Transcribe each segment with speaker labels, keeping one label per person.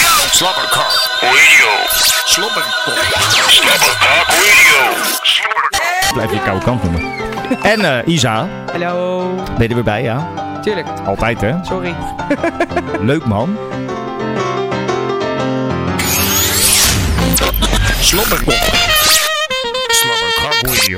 Speaker 1: Slobberkok
Speaker 2: Radio.
Speaker 1: Slobberkok
Speaker 2: Slobberkok Radio. Slobberkok.
Speaker 3: Blijf je koude kant noemen. En eh, Isa,
Speaker 4: Hallo.
Speaker 3: ben je er weer bij, ja?
Speaker 4: Tuurlijk,
Speaker 3: Altijd, hè?
Speaker 4: sorry.
Speaker 3: Leuk, man.
Speaker 1: Slobberkok Slobberkok Radio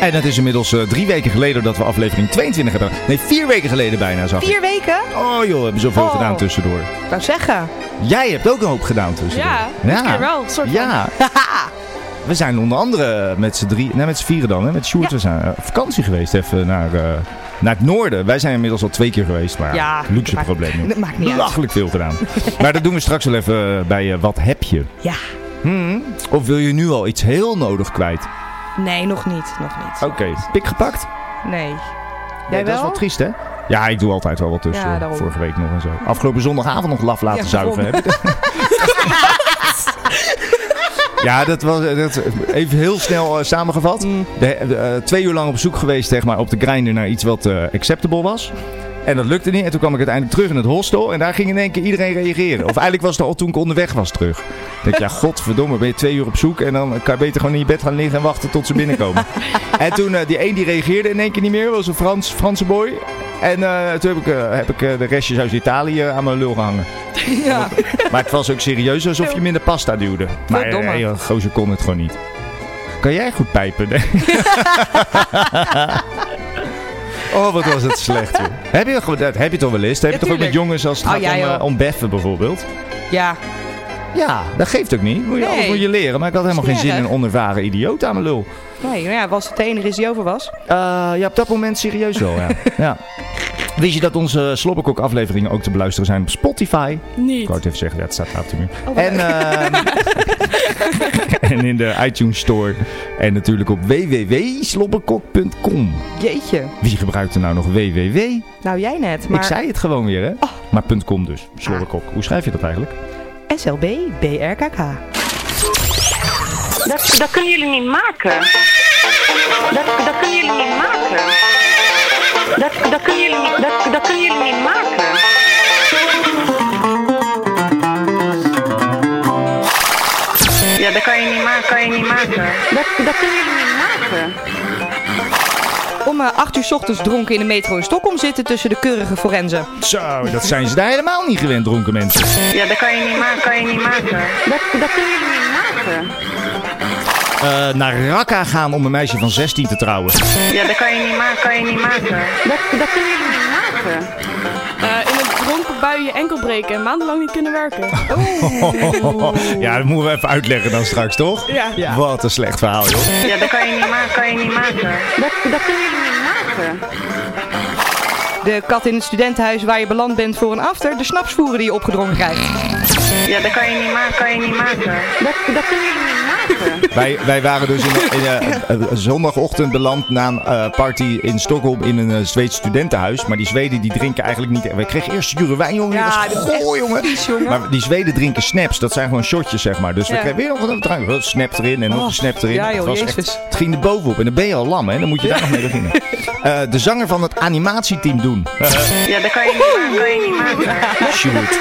Speaker 3: En het is inmiddels eh, drie weken geleden dat we aflevering 22 hebben. Nee, vier weken geleden bijna, zag ik.
Speaker 4: Vier weken?
Speaker 3: Oh joh, we hebben zoveel
Speaker 4: Oh.
Speaker 3: gedaan tussendoor.
Speaker 4: Ik wou zeggen.
Speaker 3: Jij hebt ook een hoop gedaan tussendoor.
Speaker 4: Ja, dit keer wel. Soort van.
Speaker 3: Ja. We zijn onder andere met z'n drie, nee, met z'n vieren dan, hè, met Sjoerd.
Speaker 4: Ja.
Speaker 3: We zijn eh, op vakantie geweest even naar, eh, naar het noorden. Wij zijn inmiddels al twee keer geweest, maar
Speaker 4: Ja,
Speaker 3: luxe
Speaker 4: maakt-
Speaker 3: probleem. joh.
Speaker 4: Dat maakt niet uit.
Speaker 3: Belachelijk veel gedaan. maar dat doen we straks wel even eh, bij eh, Wat heb je?
Speaker 4: Ja.
Speaker 3: Hmm, Of wil je nu al iets heel nodig kwijt?
Speaker 4: Nee, nog niet. Nog niet.
Speaker 3: Oké, pik gepakt?
Speaker 4: Oh. Nee.
Speaker 3: Ja,
Speaker 4: Jij
Speaker 3: Dat is
Speaker 4: wel?
Speaker 3: wel triest, hè? Ja, ik doe altijd wel wat tussen.
Speaker 4: Ja,
Speaker 3: hoor.
Speaker 4: daarom.
Speaker 3: Vorige week nog en zo. Afgelopen zondagavond nog laf laten
Speaker 4: Ja,
Speaker 3: zuiven.
Speaker 4: daarom.
Speaker 3: Heb je- ja, dat was dat, even heel snel eh, samengevat. De, de, eh, twee uur lang op zoek geweest zeg maar, op de grinder naar iets wat eh, acceptable was. En dat lukte niet. En toen kwam ik uiteindelijk terug in het hostel. En daar ging in één keer iedereen reageren. Of eigenlijk was het al toen ik onderweg was terug. Ik denk, ja, godverdomme, ben je twee uur op zoek. En dan kan je beter gewoon in je bed gaan liggen en wachten tot ze binnenkomen. en toen, eh, die één die reageerde in één keer niet meer. was een Frans, Franse boy. En eh, toen heb ik, eh, heb ik eh, de restjes uit Italië aan mijn lul gehangen.
Speaker 4: Ja.
Speaker 3: Maar het was ook serieus alsof je minder pasta duwde. Maar eh,
Speaker 4: Verdomme.
Speaker 3: nee, joh, gozer kon het gewoon niet. Kan jij goed pijpen? Nee? oh, wat was het slecht, joh. Heb je, gewoon- dat heb je toch wel eens? Dat heb je
Speaker 4: Ja,
Speaker 3: toch ook met
Speaker 4: tuurlijk.
Speaker 3: jongens als het
Speaker 4: Oh,
Speaker 3: gaat
Speaker 4: ja,
Speaker 3: om, eh,
Speaker 4: joh.
Speaker 3: om beffen bijvoorbeeld?
Speaker 4: Ja.
Speaker 3: Ja, dat geeft ook niet. Moet je
Speaker 4: Nee.
Speaker 3: alles moet je leren. Maar ik had helemaal geen zin in
Speaker 4: Smerig.
Speaker 3: een onervaren idioot aan mijn lul.
Speaker 4: Nee, nou ja, was het de enige is die over was.
Speaker 3: Eh, ja, op dat moment serieus wel, ja. ja. Wist je dat onze Slobberkok afleveringen ook te beluisteren zijn op Spotify? Ik
Speaker 4: Niet.
Speaker 3: wou het even zeggen, ja, het staat daar op de muur.
Speaker 4: wat
Speaker 3: en, ehm, en in de iTunes Store. En natuurlijk op www.slobberkok.com.
Speaker 4: Jeetje.
Speaker 3: Wie gebruikt er nou nog www?
Speaker 4: Nou, jij net, maar...
Speaker 3: Ik zei het gewoon weer, hè? Maar .com dus. Slobberkok. Hoe schrijf je dat eigenlijk?
Speaker 4: SLB, BRKK.
Speaker 5: Dat, dat kunnen jullie niet maken. Dat, dat kunnen jullie niet maken. Dat, dat, kunnen jullie niet, dat, dat kunnen jullie niet maken. Ja, dat kan je niet maken, kan je niet maken. Dat, dat kunnen jullie niet maken.
Speaker 4: Om eh, acht uur 's ochtends dronken in de metro in Stockholm zitten tussen de keurige forenzen.
Speaker 3: Zo, dat zijn ze daar helemaal niet gewend, dronken mensen.
Speaker 5: Ja, dat kan je niet maken, kan je niet maken. Dat, dat kunnen jullie niet maken.
Speaker 3: Eh, naar Raqqa gaan om een meisje van 16 te trouwen.
Speaker 5: Ja, dat kan je niet maken, kan je niet maken. Dat, dat kunnen jullie niet maken.
Speaker 6: Eh, in een dronken bui je enkel breken en maandenlang niet kunnen werken.
Speaker 3: ja, dat moeten we even uitleggen dan straks, toch?
Speaker 6: Ja.
Speaker 3: Wat een slecht verhaal, joh.
Speaker 5: Ja, dat kan je niet maken, kan je niet maken. Dat, dat kunnen jullie niet maken.
Speaker 4: De kat in het studentenhuis waar je beland bent voor een after. De snapsvoeren die je opgedrongen krijgt.
Speaker 5: Ja, dat kan je niet maken, kan je niet maken. Dat, dat kunnen jullie niet maken.
Speaker 3: Wij, wij waren dus in, in, eh, eh, zondagochtend beland na een eh, party in Stockholm in een eh, Zweeds studentenhuis. Maar die Zweden die drinken eigenlijk niet. We kregen eerst zure wijn, jongen.
Speaker 4: Ja,
Speaker 3: Ja,
Speaker 4: dat
Speaker 3: was
Speaker 4: is echt
Speaker 3: goor, jongen. Maar die Zweden drinken snaps. Dat zijn gewoon shotjes, zeg maar. Dus we
Speaker 4: Ja.
Speaker 3: kregen weer nog een drank. Hup, Snap erin en nog een
Speaker 4: Oh,
Speaker 3: snap erin.
Speaker 4: ja, joh,
Speaker 3: het, was
Speaker 4: Jezus.
Speaker 3: het ging er bovenop. En dan ben je al lam, hè. Dan moet je daar nog mee beginnen. Eh, de zanger van het animatieteam doen. Eh,
Speaker 5: Ja, dat kan je niet maken, kan je niet maken.
Speaker 3: Shoot.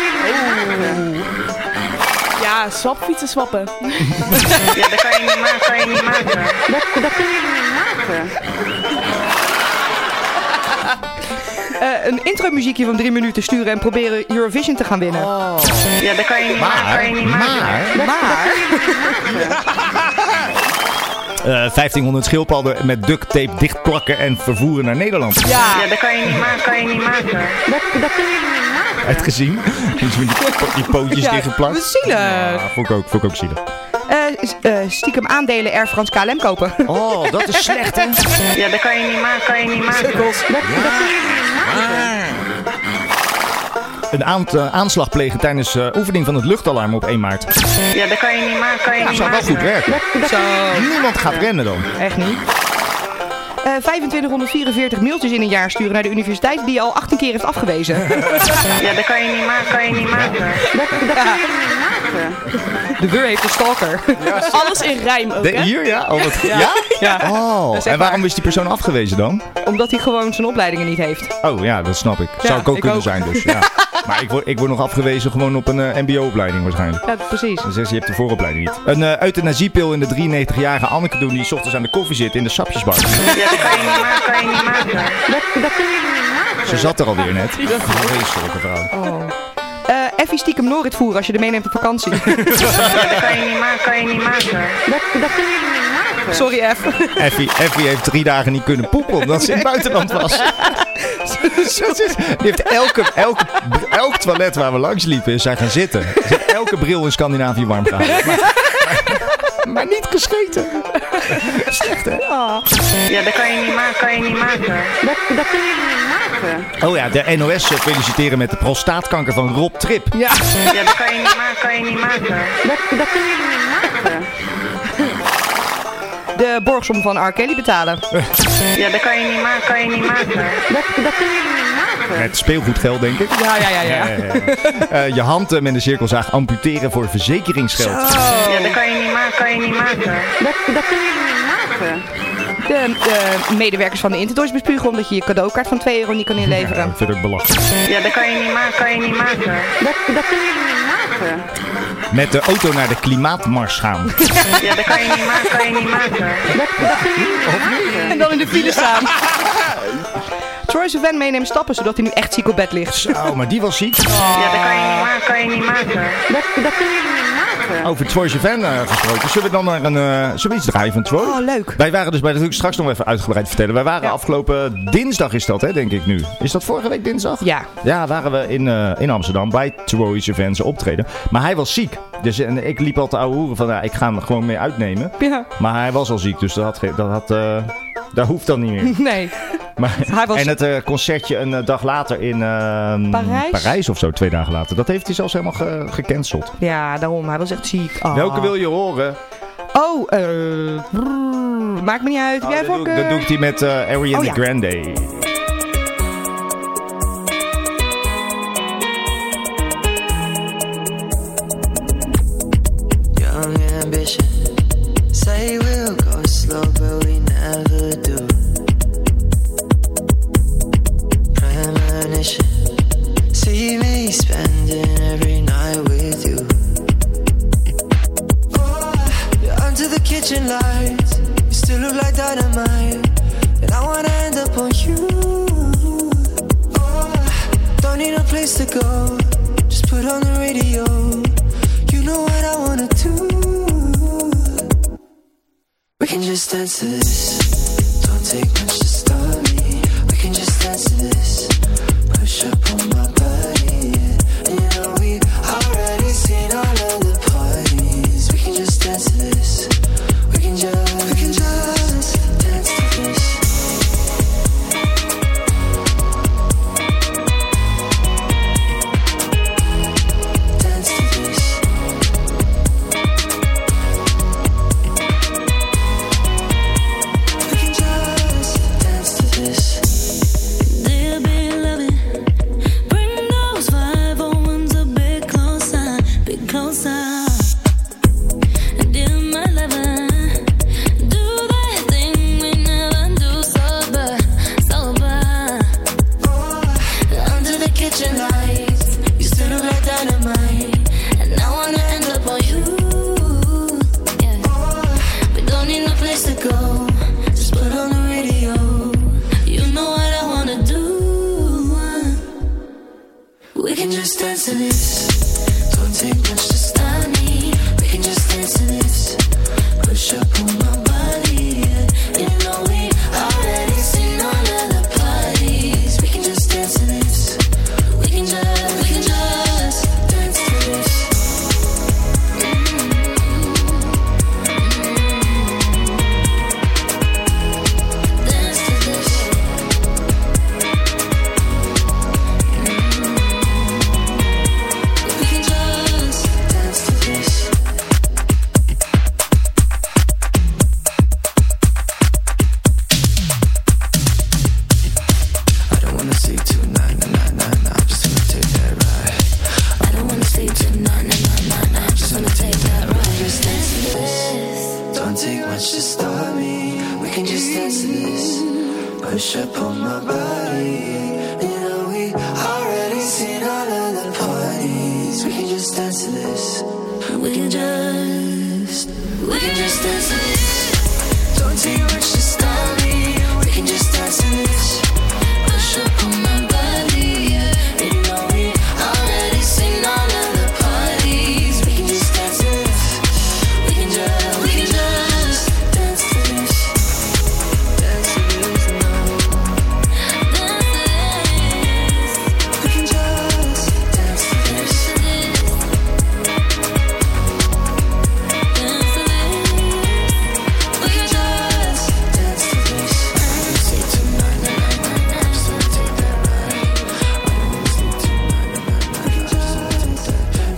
Speaker 6: Ja, swapfietsen swappen.
Speaker 5: Ja, dat kan je niet maken, kan je niet maken. Dat, dat kunnen jullie niet maken.
Speaker 4: Eh, een intromuziekje van drie minuten sturen en proberen Eurovision te gaan winnen.
Speaker 5: Ja, dat kan je niet maken, kan
Speaker 3: Maar,
Speaker 5: je niet maken.
Speaker 3: maar...
Speaker 4: Maar...
Speaker 3: eh, 1500 schildpadden met duct tape dichtplakken en vervoeren naar Nederland.
Speaker 5: Ja, dat kan je niet maken, kan je niet maken. Dat, dat kunnen jullie niet maken.
Speaker 3: uitgezien. Dus met die, po- die pootjes
Speaker 4: Ja,
Speaker 3: dichtgeplakt.
Speaker 4: wat zielig.
Speaker 3: Ja, vond ik ook, vond ik ook zielig.
Speaker 4: Eh, s- eh, stiekem aandelen Air France KLM kopen.
Speaker 3: Oh, dat is slecht, hè?
Speaker 5: Ja, dat kan je niet maken, kan je niet maken. Dat, dat kunnen jullie niet maken.
Speaker 3: Een aant- eh, aanslag plegen tijdens eh, oefening van het luchtalarm op 1 maart. Dat
Speaker 5: Ja, dat kan je niet maken, kan je niet
Speaker 3: zou
Speaker 5: maken.
Speaker 3: wel goed werken.
Speaker 4: Zo,
Speaker 3: Niemand gaat rennen dan.
Speaker 4: echt niet. Eh 2544 mailtjes in een jaar sturen naar de universiteit die je al 18 keer heeft afgewezen.
Speaker 5: Ja, dat kan je niet maken, kan je niet maken. Dat, dat kunnen jullie niet maken.
Speaker 4: De beur heeft een stalker.
Speaker 6: Alles in rijm ook,
Speaker 3: De,
Speaker 6: hè?
Speaker 3: hier, ja? Oh, wat, ja?
Speaker 4: Ja.
Speaker 3: Oh,
Speaker 4: echt
Speaker 3: en waarom
Speaker 4: waar.
Speaker 3: is die persoon afgewezen dan?
Speaker 4: Omdat hij gewoon zijn opleidingen niet heeft.
Speaker 3: Oh ja, dat snap ik. Zou
Speaker 4: Ja,
Speaker 3: ik ook
Speaker 4: ik
Speaker 3: kunnen
Speaker 4: ook.
Speaker 3: zijn dus. Ja. Maar ik word, ik word nog afgewezen gewoon op een eh, mbo-opleiding waarschijnlijk.
Speaker 4: Ja, precies.
Speaker 3: Dan zegt ze, je hebt de vooropleiding niet. Een eh euthanasiepil in de 93-jarige Anneke doen die s ochtends aan de koffie zit in de sapjesbar.
Speaker 5: Ja, dat kan je niet maken, kan je niet maken. Dat, dat kunnen jullie niet maken.
Speaker 3: Ze zat er alweer net. Vreselijke vrouw.
Speaker 4: Eh, Effie stiekem Norit voeren als je er meeneemt op vakantie.
Speaker 5: Dat kan je niet maken, kan je niet maken. Dat, dat kunnen jullie niet maken.
Speaker 4: Sorry, Eff.
Speaker 3: Effie, Effie heeft drie dagen niet kunnen poepen omdat ze in het buitenland was. Ze is- Die heeft elke, elke, elk toilet waar we langs liepen is zij gaan zitten. Ze heeft elke bril in Scandinavië warm gehouden. Maar, maar- maar niet gescheten. Slecht hè?
Speaker 5: Ja, dat kan je niet maken, kan je niet maken. Dat, dat kunnen jullie niet maken.
Speaker 3: Oh ja, de NOS feliciteren met de prostaatkanker van Rob Trip.
Speaker 4: Ja.
Speaker 5: Ja, dat kan je niet maken, kan je niet maken. Dat, dat kunnen jullie niet maken.
Speaker 4: De borgsom van R. Kelly betalen.
Speaker 5: Ja, dat kan je niet maken, kan je niet maken. Dat, dat kunnen jullie niet maken.
Speaker 3: Met speelgoedgeld, denk ik.
Speaker 4: Ja, ja, ja, ja.
Speaker 3: Eh, je hand eh, met een cirkelzaag amputeren voor verzekeringsgeld.
Speaker 5: Ja, dat kan je niet maken, kan je niet maken. Dat, dat kunnen jullie niet maken.
Speaker 4: De eh, medewerkers van de Intertoys bespugen omdat je je cadeaukaart van 2 euro niet kan
Speaker 3: Ja,
Speaker 4: inleveren.
Speaker 3: ik vind het ook belachelijk.
Speaker 5: Ja, dat kan je niet maken, kan je niet maken. Dat, dat kunnen jullie niet maken.
Speaker 3: Met de auto naar de klimaatmars gaan.
Speaker 5: Ja, dat kan je niet maken, kan je niet maken. Dat, dat kunnen jullie niet maken.
Speaker 4: En dan in de file staan. Troy zijn van meeneemt stappen zodat hij nu echt ziek op bed ligt.
Speaker 3: Oh, maar die was ziek.
Speaker 5: Ja, dat kan je niet maken, kan je niet maken. Dat, dat kunnen jullie niet maken.
Speaker 3: Over Troy Sivan eh, gesproken. Zullen we dan naar een, eh zullen we iets draaien van Troy?
Speaker 4: Oh, leuk.
Speaker 3: Wij waren dus bij, dat wil ik straks nog even uitgebreid vertellen. Wij waren afgelopen dinsdag is dat, hè, denk ik nu. Is dat vorige week dinsdag?
Speaker 4: Ja.
Speaker 3: Ja, waren we in, eh, in Amsterdam bij Troy Sivan zijn optreden. Maar hij was ziek. Dus en ik liep al te ouwe hoeren van, ja, ik ga hem er gewoon mee uitnemen.
Speaker 4: Ja.
Speaker 3: Maar hij was al ziek, dus dat, had, ge- dat, had, eh, dat hoeft dan niet meer.
Speaker 4: Nee.
Speaker 3: Maar,
Speaker 4: Hij was-
Speaker 3: En het eh, concertje een eh, dag later in eh,
Speaker 4: Parijs?
Speaker 3: of zo, twee dagen later. Dat heeft hij zelfs helemaal ge- gecanceld.
Speaker 4: Ja, daarom. Hij was echt ziek. Ah.
Speaker 3: Welke wil je horen?
Speaker 4: Oh, eh. brrr, maakt me niet uit. Heb
Speaker 3: Oh, dat,
Speaker 4: jij
Speaker 3: doe, ik-
Speaker 4: voorkeur?
Speaker 3: dat doe ik die met eh, Ariana
Speaker 4: Oh, ja.
Speaker 3: Grande.
Speaker 7: Young ambition. Say we'll go slow, but we never do. Premonition. See me spending every night with you. Oh, you're under the kitchen lights. You still look like dynamite. And I wanna end up on you. Oh, don't need a place to go. Just put on the radio. You know what I wanna do. We can just dance to this. Don't take much to stop me. We can just dance to this. Push up on my body. yeah. And you know we already seen all of the parties. We can just dance to this. We can just, we can just dance to this. Dance to this. We can just dance to this.
Speaker 8: Dear beloved, bring those five old ones a bit closer, bit closer. Dear my lover, do that thing we never do sober, sober.
Speaker 7: Under the kitchen lights, you still look like dynamite, and I wanna end up on you.
Speaker 8: Yeah.
Speaker 7: We don't need no place to go, just put on the radio. You know what I wanna do. We can just dance to this. Don't take much to stop me. We can just dance to this. Push up on my body. yeah. You know we already seen all of the parties. We can just dance to this. We can just, we can just dance to this. Mm-hmm.
Speaker 8: Dance to this.
Speaker 7: We can just dance to this. I don't wanna sleep tonight, nah, nah, nah, nah. I'm just gonna take that ride. I don't wanna sleep tonight, nah, nah, nah, nah. I'm just gonna take that ride. We can just dance to this. Don't take much to stop me. We can just dance to this. Push up on my body. You know we already seen all of the just dance to this. We can just, we can just dance to this. Don't take much to stop me. We can just dance to this. Push up on my body, yeah. You know we already seen all of the parties. We can just dance to this. We can just, we can just dance to this. Dance to this now. We can just dance to this. Dance to this. We can just dance to this. I'm sick tonight, I'm sick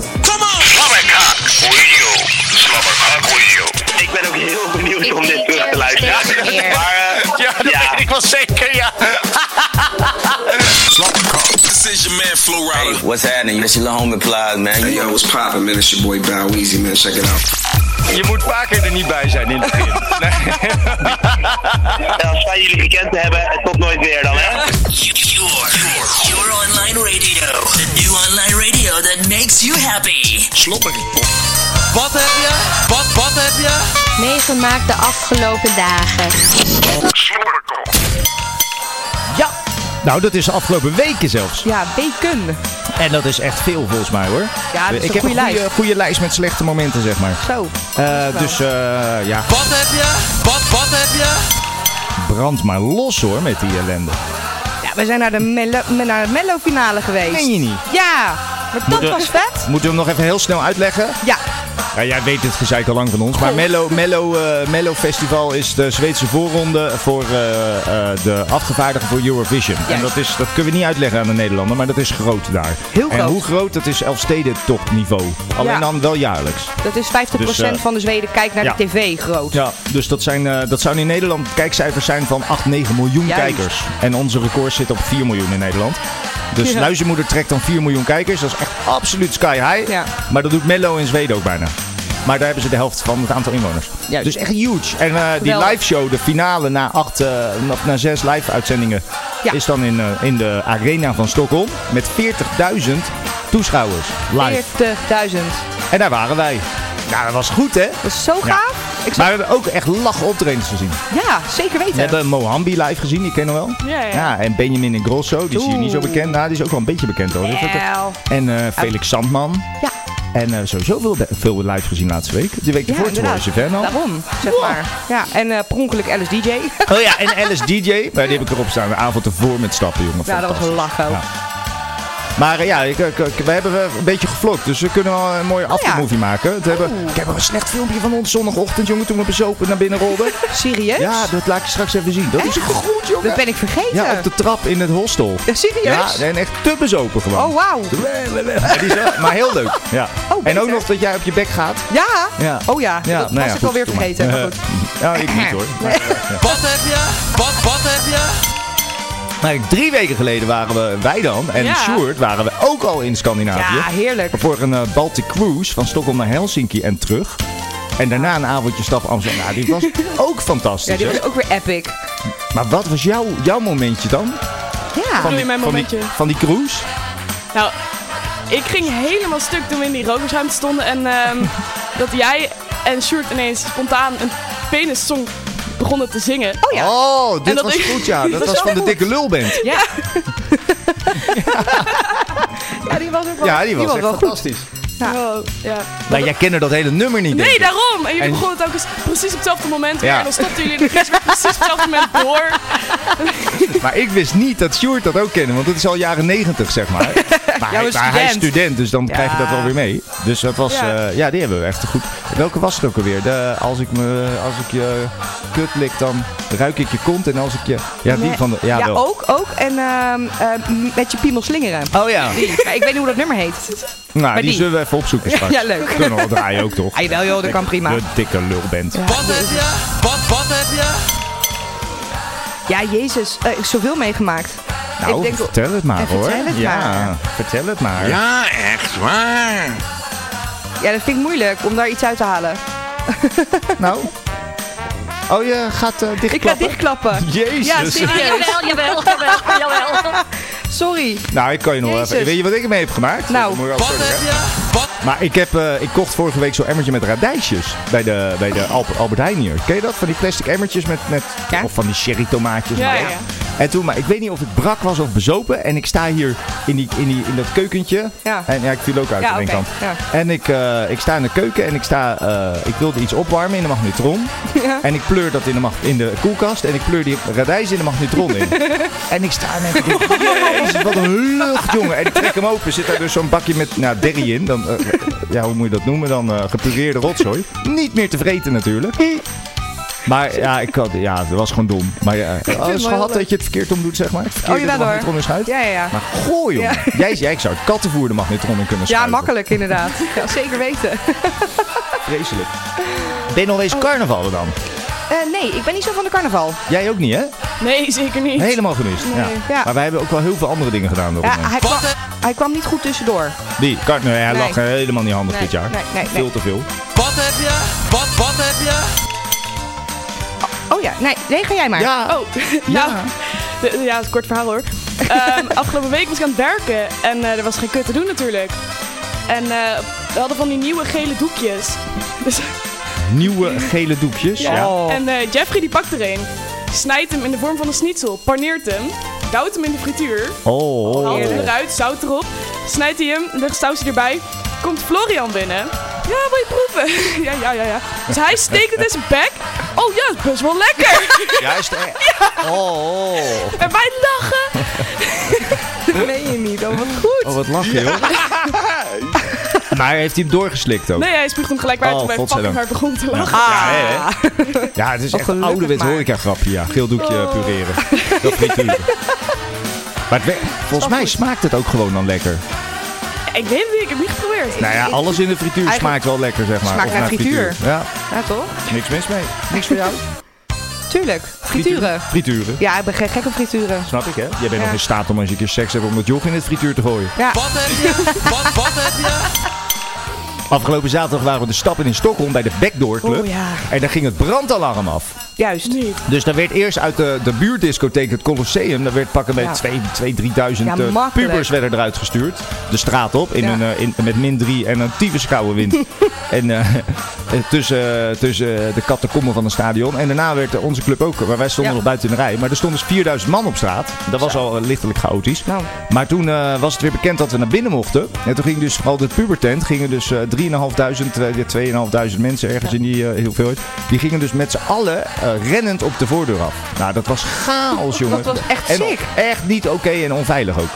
Speaker 2: Slobberkak Radio. Slobberkak Radio. Ik ben ook heel benieuwd om dit terug te luisteren. Maar, eh,
Speaker 1: Ja, dat
Speaker 2: Ja.
Speaker 1: weet ik wel zeker, ja.
Speaker 9: This is your man Flo Rida.
Speaker 10: What's happening? That's your little homie Plies, man. You
Speaker 11: Hey yo, what's poppin', man? It's your boy Bow Weezy, man. Check it out.
Speaker 3: Je moet vaker er niet bij zijn in het begin.
Speaker 2: ja, als wij jullie gekend hebben, eh, tot nooit weer dan, hè?
Speaker 9: Your, your online radio. The new online radio that makes you happy.
Speaker 1: Slobberkok.
Speaker 10: Wat heb je? Wat, wat heb je?
Speaker 8: Meegemaakt de afgelopen dagen.
Speaker 2: Slobberkok.
Speaker 3: Ja. Nou, dat is de afgelopen weken zelfs.
Speaker 4: Ja, bacon.
Speaker 3: En dat is echt veel volgens mij hoor.
Speaker 4: Ja, dat
Speaker 3: ik
Speaker 4: is een
Speaker 3: heb
Speaker 4: goede
Speaker 3: een goede,
Speaker 4: lijst.
Speaker 3: goede lijst met slechte momenten, zeg maar.
Speaker 4: Zo.
Speaker 3: Eh, dus eh, ja,
Speaker 10: Wat heb je? Wat, wat heb je?
Speaker 3: brand maar los hoor met die ellende.
Speaker 4: Ja, we zijn naar de Mello, me- naar de Mello finale geweest.
Speaker 3: Meen je niet?
Speaker 4: Ja, maar dat
Speaker 3: Moet er-
Speaker 4: was vet.
Speaker 3: Moeten we hem nog even heel snel uitleggen?
Speaker 4: Ja,
Speaker 3: Ja, jij weet het gezeik al lang van ons. Maar Mello, Mello, eh, Mello Festival is de Zweedse voorronde voor eh, eh, de afgevaardigden voor Eurovision. En
Speaker 4: Juist.
Speaker 3: dat, is, dat kunnen we niet uitleggen aan de Nederlander, maar dat is groot daar.
Speaker 4: Heel
Speaker 3: En
Speaker 4: groot.
Speaker 3: hoe groot, dat is Elfsteden topniveau. Alleen
Speaker 4: Ja.
Speaker 3: dan wel jaarlijks.
Speaker 4: dat is 50%
Speaker 3: Dus, eh,
Speaker 4: van de Zweden kijkt naar
Speaker 3: ja.
Speaker 4: de tv groot.
Speaker 3: Ja, dus dat, zijn, eh, dat zouden in Nederland kijkcijfers zijn van 8, 9 miljoen
Speaker 4: Juist.
Speaker 3: kijkers. En onze record zit op 4 miljoen in Nederland. Dus
Speaker 4: Ja.
Speaker 3: Luizenmoeder trekt dan 4 miljoen kijkers. Dat is echt absoluut sky high.
Speaker 4: Ja.
Speaker 3: Maar dat doet Mello in Zweden ook bijna. Maar daar hebben ze de helft van het aantal inwoners.
Speaker 4: Juist.
Speaker 3: Dus echt huge. En eh, die
Speaker 4: Geweldig.
Speaker 3: live show, de finale na, acht, eh, na- na zes live uitzendingen,
Speaker 4: Ja.
Speaker 3: is dan in, eh, in de arena van Stockholm. Met 40.000 toeschouwers live.
Speaker 4: 40.000.
Speaker 3: En daar waren wij. Nou, dat was goed hè.
Speaker 4: Dat is zo
Speaker 3: Ja.
Speaker 4: gaaf. Ik
Speaker 3: Maar
Speaker 4: zag,
Speaker 3: we hebben ook echt lach optredens gezien.
Speaker 4: ja, zeker weten.
Speaker 3: We hebben eh, Mohambi live gezien, die ken je wel.
Speaker 6: Ja, ja.
Speaker 3: en Benjamin en Grosso, die is hier
Speaker 4: Oeh.
Speaker 3: niet zo bekend. Nou, die is ook wel een beetje bekend hoor. Dus dat-
Speaker 4: Wel.
Speaker 3: En eh, Felix Sandman.
Speaker 4: Ja.
Speaker 3: En eh, sowieso veel, veel live gezien laatste week. De week
Speaker 4: Ja,
Speaker 3: ervoor, toen
Speaker 4: inderdaad.
Speaker 3: was je fan al.
Speaker 4: Daarom, zeg maar. Ja, en eh, per ongeluk Alice DJ.
Speaker 3: Oh ja, en Alice DJ. Maar die heb ik erop staan. De avond ervoor met stappen, jongen.
Speaker 4: ja, dat was een
Speaker 3: Fantastisch.
Speaker 4: lach ook.
Speaker 3: Ja. Maar eh, ja, ik, ik- ik- we hebben eh, een beetje gevlokt. Dus we kunnen wel een
Speaker 4: Oh
Speaker 3: mooie aftermovie maken. Het hebben, ik heb een slecht filmpje van ons zondagochtend, jongen. Toen we bezopen naar binnen rolden.
Speaker 4: Serieus?
Speaker 3: Ja, dat laat ik straks even zien. Dat is goed, jongen.
Speaker 4: Dat ben ik vergeten.
Speaker 3: Ja, op de trap in het hostel.
Speaker 4: Ja, serieus?
Speaker 3: Ja, en echt te bezopen gewoon.
Speaker 4: Oh, wauw.
Speaker 3: Ja, die is wel- maar heel leuk. Ja.
Speaker 4: Oh,
Speaker 3: en ook
Speaker 4: beter.
Speaker 3: nog dat jij op je bek gaat.
Speaker 4: Ja?
Speaker 3: Ja.
Speaker 4: Oh ja, dat was ik alweer
Speaker 3: doe maar.
Speaker 4: vergeten. Maar goed.
Speaker 3: Ja, ik niet hoor. Maar, eh, ja.
Speaker 10: Wat heb je? Wat, wat heb je?
Speaker 3: Maar drie weken geleden waren we, wij dan, en
Speaker 6: Ja.
Speaker 3: Sjoerd, waren we ook al in Scandinavië.
Speaker 4: Ja, heerlijk.
Speaker 3: Voor een eh, Baltic Cruise van Stockholm naar Helsinki en terug. En daarna een avondje stap Amsterdam. Nou, die was ook
Speaker 4: Ja,
Speaker 3: fantastisch.
Speaker 4: dit
Speaker 3: hè?
Speaker 4: was ook weer epic.
Speaker 3: Maar wat was jouw, jouw momentje dan?
Speaker 4: Ja.
Speaker 6: Doe je mijn
Speaker 3: van, die,
Speaker 6: momentje?
Speaker 3: van die cruise?
Speaker 6: Nou, ik ging helemaal stuk toen we in die rokersruimte stonden. En ehm, dat jij en Sjoerd ineens spontaan een penissong begonnen te zingen.
Speaker 4: Oh ja.
Speaker 3: Oh, dit
Speaker 6: En dat
Speaker 3: was
Speaker 6: ik-
Speaker 3: goed ja.
Speaker 6: dat
Speaker 3: Dat
Speaker 6: was
Speaker 3: was
Speaker 6: wel
Speaker 3: van de
Speaker 6: goed.
Speaker 3: dikke lulband.
Speaker 4: Ja. ja, die was ook wel,
Speaker 3: Ja, die was echt
Speaker 4: wel goed.
Speaker 3: fantastisch.
Speaker 6: Oh, ja.
Speaker 3: Nou, jij kende dat hele nummer niet, denk
Speaker 6: Nee,
Speaker 3: ik.
Speaker 6: daarom! En jullie
Speaker 3: En-
Speaker 6: begonnen het ook eens precies op hetzelfde moment weer.
Speaker 3: Ja.
Speaker 6: En dan stopten jullie de quiz weer precies op hetzelfde moment door.
Speaker 3: Maar ik wist niet dat Sjoerd dat ook kende, want het is al jaren negentig, zeg maar. Maar, hij,
Speaker 4: maar
Speaker 3: maar hij is
Speaker 4: student.
Speaker 3: student, dus dan krijg je dat wel weer mee. Dus dat was, ja,
Speaker 6: Ja.
Speaker 3: ja die hebben we echt goed. Welke was het ook alweer? De, als, ik me, als ik je kut lik, dan ruik ik je kont en als ik je... Ja, die
Speaker 4: Nee.
Speaker 3: van de... Ja,
Speaker 4: Ja, oh,
Speaker 3: wel.
Speaker 4: ook, ook. En ehm, ehm, met je piemel slingeren.
Speaker 3: Oh ja.
Speaker 4: Die. Maar ik weet niet hoe dat nummer heet.
Speaker 3: Nou, die,
Speaker 4: die.
Speaker 3: zullen we even opzoeken straks.
Speaker 4: Ja, leuk.
Speaker 3: Kunnen we wel draaien ook, toch?
Speaker 4: Ah, jawel joh, dat kan prima.
Speaker 3: De dikke lulband.
Speaker 10: Wat heb je? Wat, wat heb je?
Speaker 4: Ja, jezus. eh, ik heb zoveel meegemaakt.
Speaker 3: Nou,
Speaker 4: ik denk-
Speaker 3: vertel het maar,
Speaker 4: En
Speaker 3: hoor.
Speaker 4: vertel het
Speaker 3: ja,
Speaker 4: maar.
Speaker 3: vertel het maar.
Speaker 1: Ja, echt waar.
Speaker 4: Ja, dat vind ik moeilijk om daar iets uit te halen.
Speaker 3: Nou. Oh, je gaat eh
Speaker 4: Ik ga
Speaker 3: dichtklappen?
Speaker 4: dichtklappen.
Speaker 3: Jezus.
Speaker 4: Ja, serieus.
Speaker 8: Jawel, jawel, jawel, jawel.
Speaker 4: Sorry.
Speaker 3: Nou, ik kan je nog wel even...
Speaker 4: Jezus.
Speaker 3: Weet je wat ik ermee heb gemaakt?
Speaker 4: Nou.
Speaker 3: Moet je wel
Speaker 4: Wat
Speaker 3: sorry,
Speaker 4: heb
Speaker 3: hè. Maar ik, heb, eh, ik kocht vorige week zo'n emmertje met radijsjes bij de, bij de Albert, Albert Heijn hier. Ken je dat? Van die plastic emmertjes met... met Of van die sherry tomaatjes.
Speaker 6: Ja,
Speaker 3: maar
Speaker 6: ja.
Speaker 3: En toen, maar ik weet niet of ik brak was of bezopen. En ik sta hier in, die, in, die, in dat keukentje.
Speaker 4: Ja.
Speaker 3: En ja, ik viel ook uit
Speaker 4: Ja,
Speaker 3: aan de
Speaker 4: oké,
Speaker 3: kant.
Speaker 4: ja.
Speaker 3: En ik, eh, ik sta in de keuken en ik, sta, eh, ik wilde iets opwarmen in de magnetron.
Speaker 4: Ja.
Speaker 3: En ik pleur dat in de, mag, in de koelkast. En ik pleur die radijs in de magnetron in. en ik sta net... Jezus, wat een lucht, jongen. En ik trek hem open. Zit daar dus zo'n bakje met nou, derrie in. Dan, eh, ja, hoe moet je dat noemen? Dan eh, gepureerde rotzooi. Niet meer te vreten natuurlijk. Maar ja, ik had, ja, dat was gewoon dom. Maar ja,
Speaker 4: mooi
Speaker 3: alles gehad
Speaker 4: leuk.
Speaker 3: dat je het verkeerd om doet, zeg maar. Het
Speaker 4: Oh,
Speaker 3: verkeerde
Speaker 4: jawel
Speaker 3: de magnetron
Speaker 4: hoor.
Speaker 3: is uit.
Speaker 4: Ja, ja, ja.
Speaker 3: Maar goh, jongen.
Speaker 4: Ja.
Speaker 3: Jij, jij zou het kattenvoer de magnetron in kunnen
Speaker 4: Ja,
Speaker 3: schuiven.
Speaker 4: makkelijk inderdaad. Ja, zeker weten.
Speaker 3: Vreselijk. Ben je nog
Speaker 4: Oh.
Speaker 3: eens carnaval dan?
Speaker 4: Eh, nee, ik ben niet zo van de carnaval.
Speaker 3: Jij ook niet, hè?
Speaker 6: Nee, zeker niet.
Speaker 3: Helemaal gemist.
Speaker 4: Nee.
Speaker 3: Ja.
Speaker 4: Ja.
Speaker 3: Maar wij hebben ook wel heel veel andere dingen gedaan. eh.
Speaker 4: Ja,
Speaker 3: daaromheen.
Speaker 4: hij, kwam, hij kwam niet goed tussendoor.
Speaker 3: Die, kart, nee, hij
Speaker 4: Nee.
Speaker 3: lag helemaal niet handig
Speaker 4: Nee,
Speaker 3: dit jaar.
Speaker 4: nee, nee, nee.
Speaker 3: Veel te veel.
Speaker 10: Wat heb je? Wat, wat heb je?
Speaker 4: Oh ja, nee, nee ga jij maar.
Speaker 6: Ja. Oh, nou. de- ja, het is een kort verhaal hoor. Ehm, afgelopen week was ik aan het werken en eh, er was geen kut te doen natuurlijk. En eh, we hadden van die nieuwe gele doekjes. Dus,
Speaker 3: Nieuwe gele doekjes. Ja.
Speaker 6: En eh, Jeffrey die pakt er een. Snijdt hem in de vorm van een schnitzel, paneert hem, duwt hem in de frituur,
Speaker 3: Oh. oh.
Speaker 6: haalt hem eruit, zout erop, snijdt hij hem, legt sausje erbij. Komt Florian binnen. Ja, wil je proeven? ja, ja, ja, ja. Dus hij steekt het in zijn bek. Oh ja, het is best wel lekker.
Speaker 3: Juist, hè? Oh.
Speaker 6: En wij lachen.
Speaker 4: Dat meen je niet, oh wat goed.
Speaker 3: Oh, wat lach je, joh. Maar heeft hij hem doorgeslikt ook?
Speaker 6: Nee, Ah. hij spuugt hem gelijk maar
Speaker 3: Oh,
Speaker 6: toen wij fucking
Speaker 3: godzijdank.
Speaker 6: hard begonnen te lachen.
Speaker 3: Ja, hè, hè? ja, het is echt een ouderwets horeca-grapje, ja. Geel doekje
Speaker 6: Oh.
Speaker 3: pureren. Dat frituren. Maar het wer- volgens mij smaakt het ook gewoon dan lekker.
Speaker 6: Ik weet het niet, ik heb het niet geprobeerd.
Speaker 3: Nou ja, alles in de frituur
Speaker 6: Eigenlijk
Speaker 3: smaakt wel lekker, zeg maar.
Speaker 6: smaakt
Speaker 3: Of
Speaker 6: naar frituur.
Speaker 3: Ja,
Speaker 4: Ja, toch?
Speaker 3: niks mis mee. Niks voor jou?
Speaker 4: Tuurlijk. Frituren.
Speaker 3: Frituren.
Speaker 4: Ja, ik ben geen gek op frituren.
Speaker 3: Snap ik, hè? Jij bent
Speaker 4: Ja.
Speaker 3: nog in staat om als je een keer seks hebt om dat joch in het frituur te gooien.
Speaker 4: Ja.
Speaker 10: Wat heb je? Wat, wat heb je?
Speaker 3: Afgelopen zaterdag waren we de stappen in Stockholm bij de Backdoor Club.
Speaker 4: Oh, ja.
Speaker 3: En daar ging het brandalarm af.
Speaker 4: Juist.
Speaker 3: Dus daar werd eerst uit de, de buurdiscotheek, het Colosseum, daar werd pakken
Speaker 4: Ja.
Speaker 3: met 2, 3000
Speaker 4: Ja,
Speaker 3: eh,
Speaker 4: makkelijk.
Speaker 3: pubers werden eruit gestuurd. De straat op in
Speaker 4: Ja.
Speaker 3: een, eh, in, met min 3 en een tyfuskoude wind. en eh, tussen, eh, tussen de kattenkommen van het stadion. En daarna werd eh, onze club ook, maar wij stonden
Speaker 4: Ja.
Speaker 3: nog buiten in de rij. Maar er stonden dus 4000 man op straat. Dat was al eh, lichtelijk chaotisch.
Speaker 4: Nou.
Speaker 3: Maar toen eh, was het weer bekend dat we naar binnen mochten. En toen ging dus vooral de pubertent, gingen dus eh 3.500, eh, 2.500 mensen ergens in die eh hoeveelheid. Die gingen dus met z'n allen eh, rennend op de voordeur af. Nou, dat was chaos, jongen.
Speaker 4: Dat was echt
Speaker 3: en
Speaker 4: sick.
Speaker 3: Echt niet oké en onveilig ook.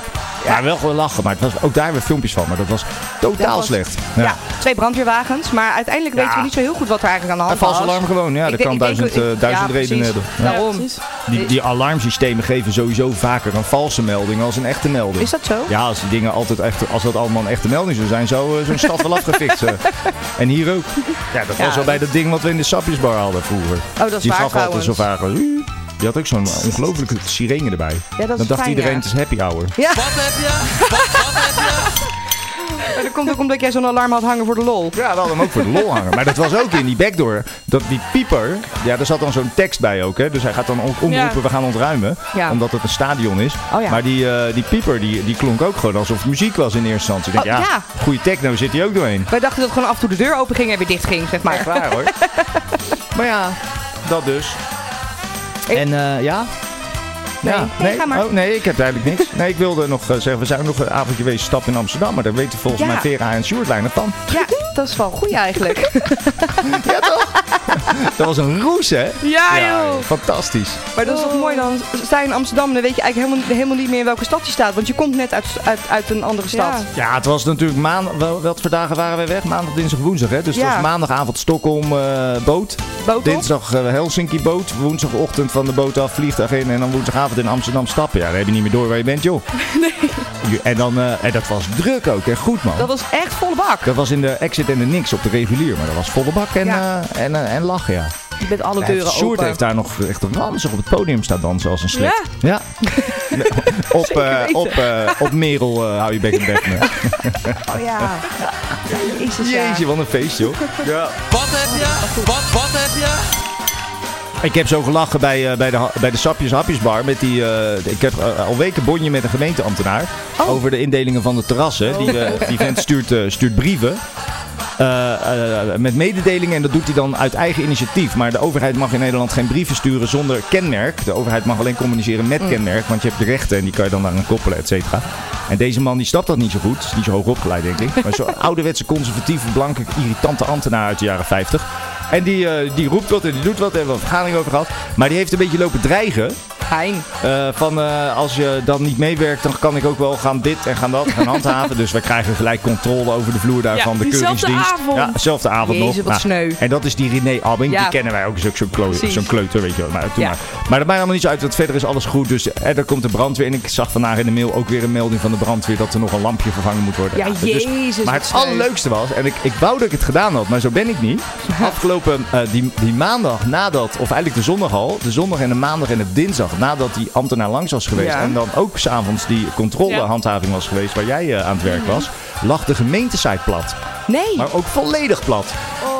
Speaker 3: Ja, wel gewoon lachen, maar het was, ook daar weer filmpjes van. Maar dat was totaal
Speaker 4: Dat was-
Speaker 3: slecht.
Speaker 4: Ja. twee brandweerwagens. Maar uiteindelijk weten we niet zo heel goed wat er eigenlijk aan de
Speaker 3: Een
Speaker 4: hand was.
Speaker 3: vals alarm gewoon, ja, dat
Speaker 4: Ik denk-
Speaker 3: kan
Speaker 4: ik denk-
Speaker 3: duizend, eh,
Speaker 4: ik-
Speaker 3: duizend
Speaker 4: ja,
Speaker 3: redenen
Speaker 4: precies.
Speaker 3: hebben. Ja.
Speaker 4: Daarom.
Speaker 3: Die, die alarmsystemen geven sowieso vaker een valse melding als een echte melding.
Speaker 4: Is dat zo?
Speaker 3: Ja, als die dingen altijd echt, als dat allemaal een echte melding zou zijn, zou eh, zo'n stad wel afgefixt zijn. En hier ook. Ja, dat
Speaker 4: Ja,
Speaker 3: was al bij
Speaker 4: dat- Oh,
Speaker 3: dat ding wat we in de sapjesbar hadden vroeger.
Speaker 4: dat is
Speaker 3: die
Speaker 4: waar
Speaker 3: gaf altijd
Speaker 4: trouwens.
Speaker 3: zo vaak. eh, Die had ook zo'n ongelofelijke sirene erbij.
Speaker 4: dat is
Speaker 3: Dan dacht
Speaker 4: fijn,
Speaker 3: iedereen,
Speaker 4: ja.
Speaker 3: het is happy hour.
Speaker 4: Ja,
Speaker 10: Wat heb je?
Speaker 4: maar dat komt ook omdat jij zo'n alarm had hangen voor de lol.
Speaker 3: Ja, we hadden hem ook voor de lol hangen. Maar dat was ook in die backdoor. Dat die pieper, ja, daar zat dan zo'n tekst bij ook. Hè? Dus hij gaat dan ook omroepen,
Speaker 6: Ja.
Speaker 3: we gaan ontruimen.
Speaker 4: Ja.
Speaker 3: Omdat het een stadion is.
Speaker 4: Oh ja.
Speaker 3: Maar die, eh, die pieper, die, die klonk ook gewoon alsof het muziek was in eerste instantie. Ik denk,
Speaker 4: Oh,
Speaker 3: ja,
Speaker 4: ja.
Speaker 3: goede techno zit hij ook doorheen.
Speaker 4: Wij dachten dat gewoon af en toe de deur open ging en weer dicht ging, zeg maar.
Speaker 3: Echt waar hoor. maar ja, dat dus. En eh, ja...
Speaker 4: Nee.
Speaker 3: ja,
Speaker 4: Nee, ga maar.
Speaker 3: Oh, nee, ik heb eigenlijk niks. Nee, ik wilde nog eh, zeggen, we zijn nog een avondje geweest stap in Amsterdam. Maar daar weten volgens
Speaker 4: Ja.
Speaker 3: mij Vera en Sjoerd weinig van.
Speaker 4: Ja, dat is wel goed eigenlijk.
Speaker 3: Dat was een roes, hè?
Speaker 6: Ja, joh.
Speaker 3: Fantastisch.
Speaker 4: Maar dat is toch mooi dan? Sta je in Amsterdam, dan weet je eigenlijk helemaal, helemaal niet meer in welke stad je staat. Want je komt net uit, uit, uit een andere stad.
Speaker 6: Ja.
Speaker 3: Ja, het was natuurlijk maandag. Wel, wat voor dagen waren wij weg? Maandag, dinsdag, woensdag. Hè? Dus het
Speaker 4: Ja.
Speaker 3: was maandagavond Stockholm eh, boot.
Speaker 4: Boot op.
Speaker 3: Dinsdag eh, Helsinki boot. Woensdagochtend van de boot af vliegtuig in. En dan woensdagavond in Amsterdam stappen. Ja, dan heb je niet meer door waar je bent, joh. Nee. En, dan, eh, en dat was druk ook. En goed, man.
Speaker 4: Dat was echt volle bak.
Speaker 3: Dat was in de exit en de niks op de regulier. Maar dat was volle bak en,
Speaker 4: Ja.
Speaker 3: eh, en, eh, en lachen, ja.
Speaker 4: Je bent alle
Speaker 3: Ja,
Speaker 4: deuren
Speaker 3: Sjoerd
Speaker 4: open.
Speaker 3: heeft daar nog echt ranzig op het podium staan dansen als een slet.
Speaker 6: Ja?
Speaker 3: Ja. op, eh,
Speaker 4: weten.
Speaker 3: op, eh, op Merel eh, hou je bek en bek me.
Speaker 4: Oh ja. Jezus, ja.
Speaker 3: Jeetje, wat een feest, joh. Ja.
Speaker 10: Wat heb je? Wat, wat heb je?
Speaker 3: Ik heb zo gelachen bij, eh, bij, de, ha- bij de Sapjes Hapjesbar. Met die, eh, ik heb eh, al weken bonje met een gemeenteambtenaar. Over de indelingen van de terrassen. Die, eh, die vent stuurt, eh, stuurt brieven. eh, eh, met mededelingen en dat doet hij dan uit eigen initiatief. Maar de overheid mag in Nederland geen brieven sturen zonder kenmerk. De overheid mag alleen communiceren met kenmerk, want je hebt de rechten en die kan je dan daaraan koppelen, et cetera. En deze man die snapt dat niet zo goed, is niet zo hoog opgeleid denk ik. Maar zo'n ouderwetse, conservatieve, blanke, irritante ambtenaar uit de jaren 50. En die, eh, die roept wat en die doet wat. Daar hebben we een vergadering over gehad. Maar die heeft een beetje lopen dreigen.
Speaker 4: Hein.
Speaker 3: van eh, als je dan niet meewerkt, dan kan ik ook wel gaan dit en gaan dat gaan handhaven. dus wij krijgen gelijk controle over de vloer daar
Speaker 6: Ja,
Speaker 3: van de
Speaker 6: diezelfde
Speaker 3: keuringsdienst.
Speaker 6: avond.
Speaker 3: Ja, dezelfde avond
Speaker 6: Jezus,
Speaker 3: nog.
Speaker 6: wat sneu.
Speaker 3: En dat is die René Abing.
Speaker 6: Ja.
Speaker 3: Die kennen wij ook. Is ook zo'n klo-
Speaker 6: Precies.
Speaker 3: zo'n kleuter, weet je wel. Maar, doe
Speaker 6: Ja.
Speaker 3: maar. maar dat maakt allemaal niet zo uit. Want verder is alles goed. Dus eh, er komt de brandweer. En ik zag vandaag in de mail ook weer een melding van de brandweer dat er nog een lampje vervangen moet worden.
Speaker 4: Ja,
Speaker 3: dus-
Speaker 4: jezus,
Speaker 3: maar
Speaker 4: wat
Speaker 3: het
Speaker 4: sneu.
Speaker 3: allerleukste was, en ik, ik wou dat ik het gedaan had, maar zo ben ik niet. Afgelopen eh, die, die maandag nadat, of eigenlijk de zondag al, de zondag en de maandag en de dinsdag, nadat die ambtenaar langs was geweest
Speaker 12: Ja.
Speaker 3: en dan ook s'avonds die controlehandhaving was geweest waar jij eh, aan het
Speaker 4: Mhm.
Speaker 3: werk was, lag de gemeentesite plat.
Speaker 4: Nee.
Speaker 3: Maar ook volledig plat.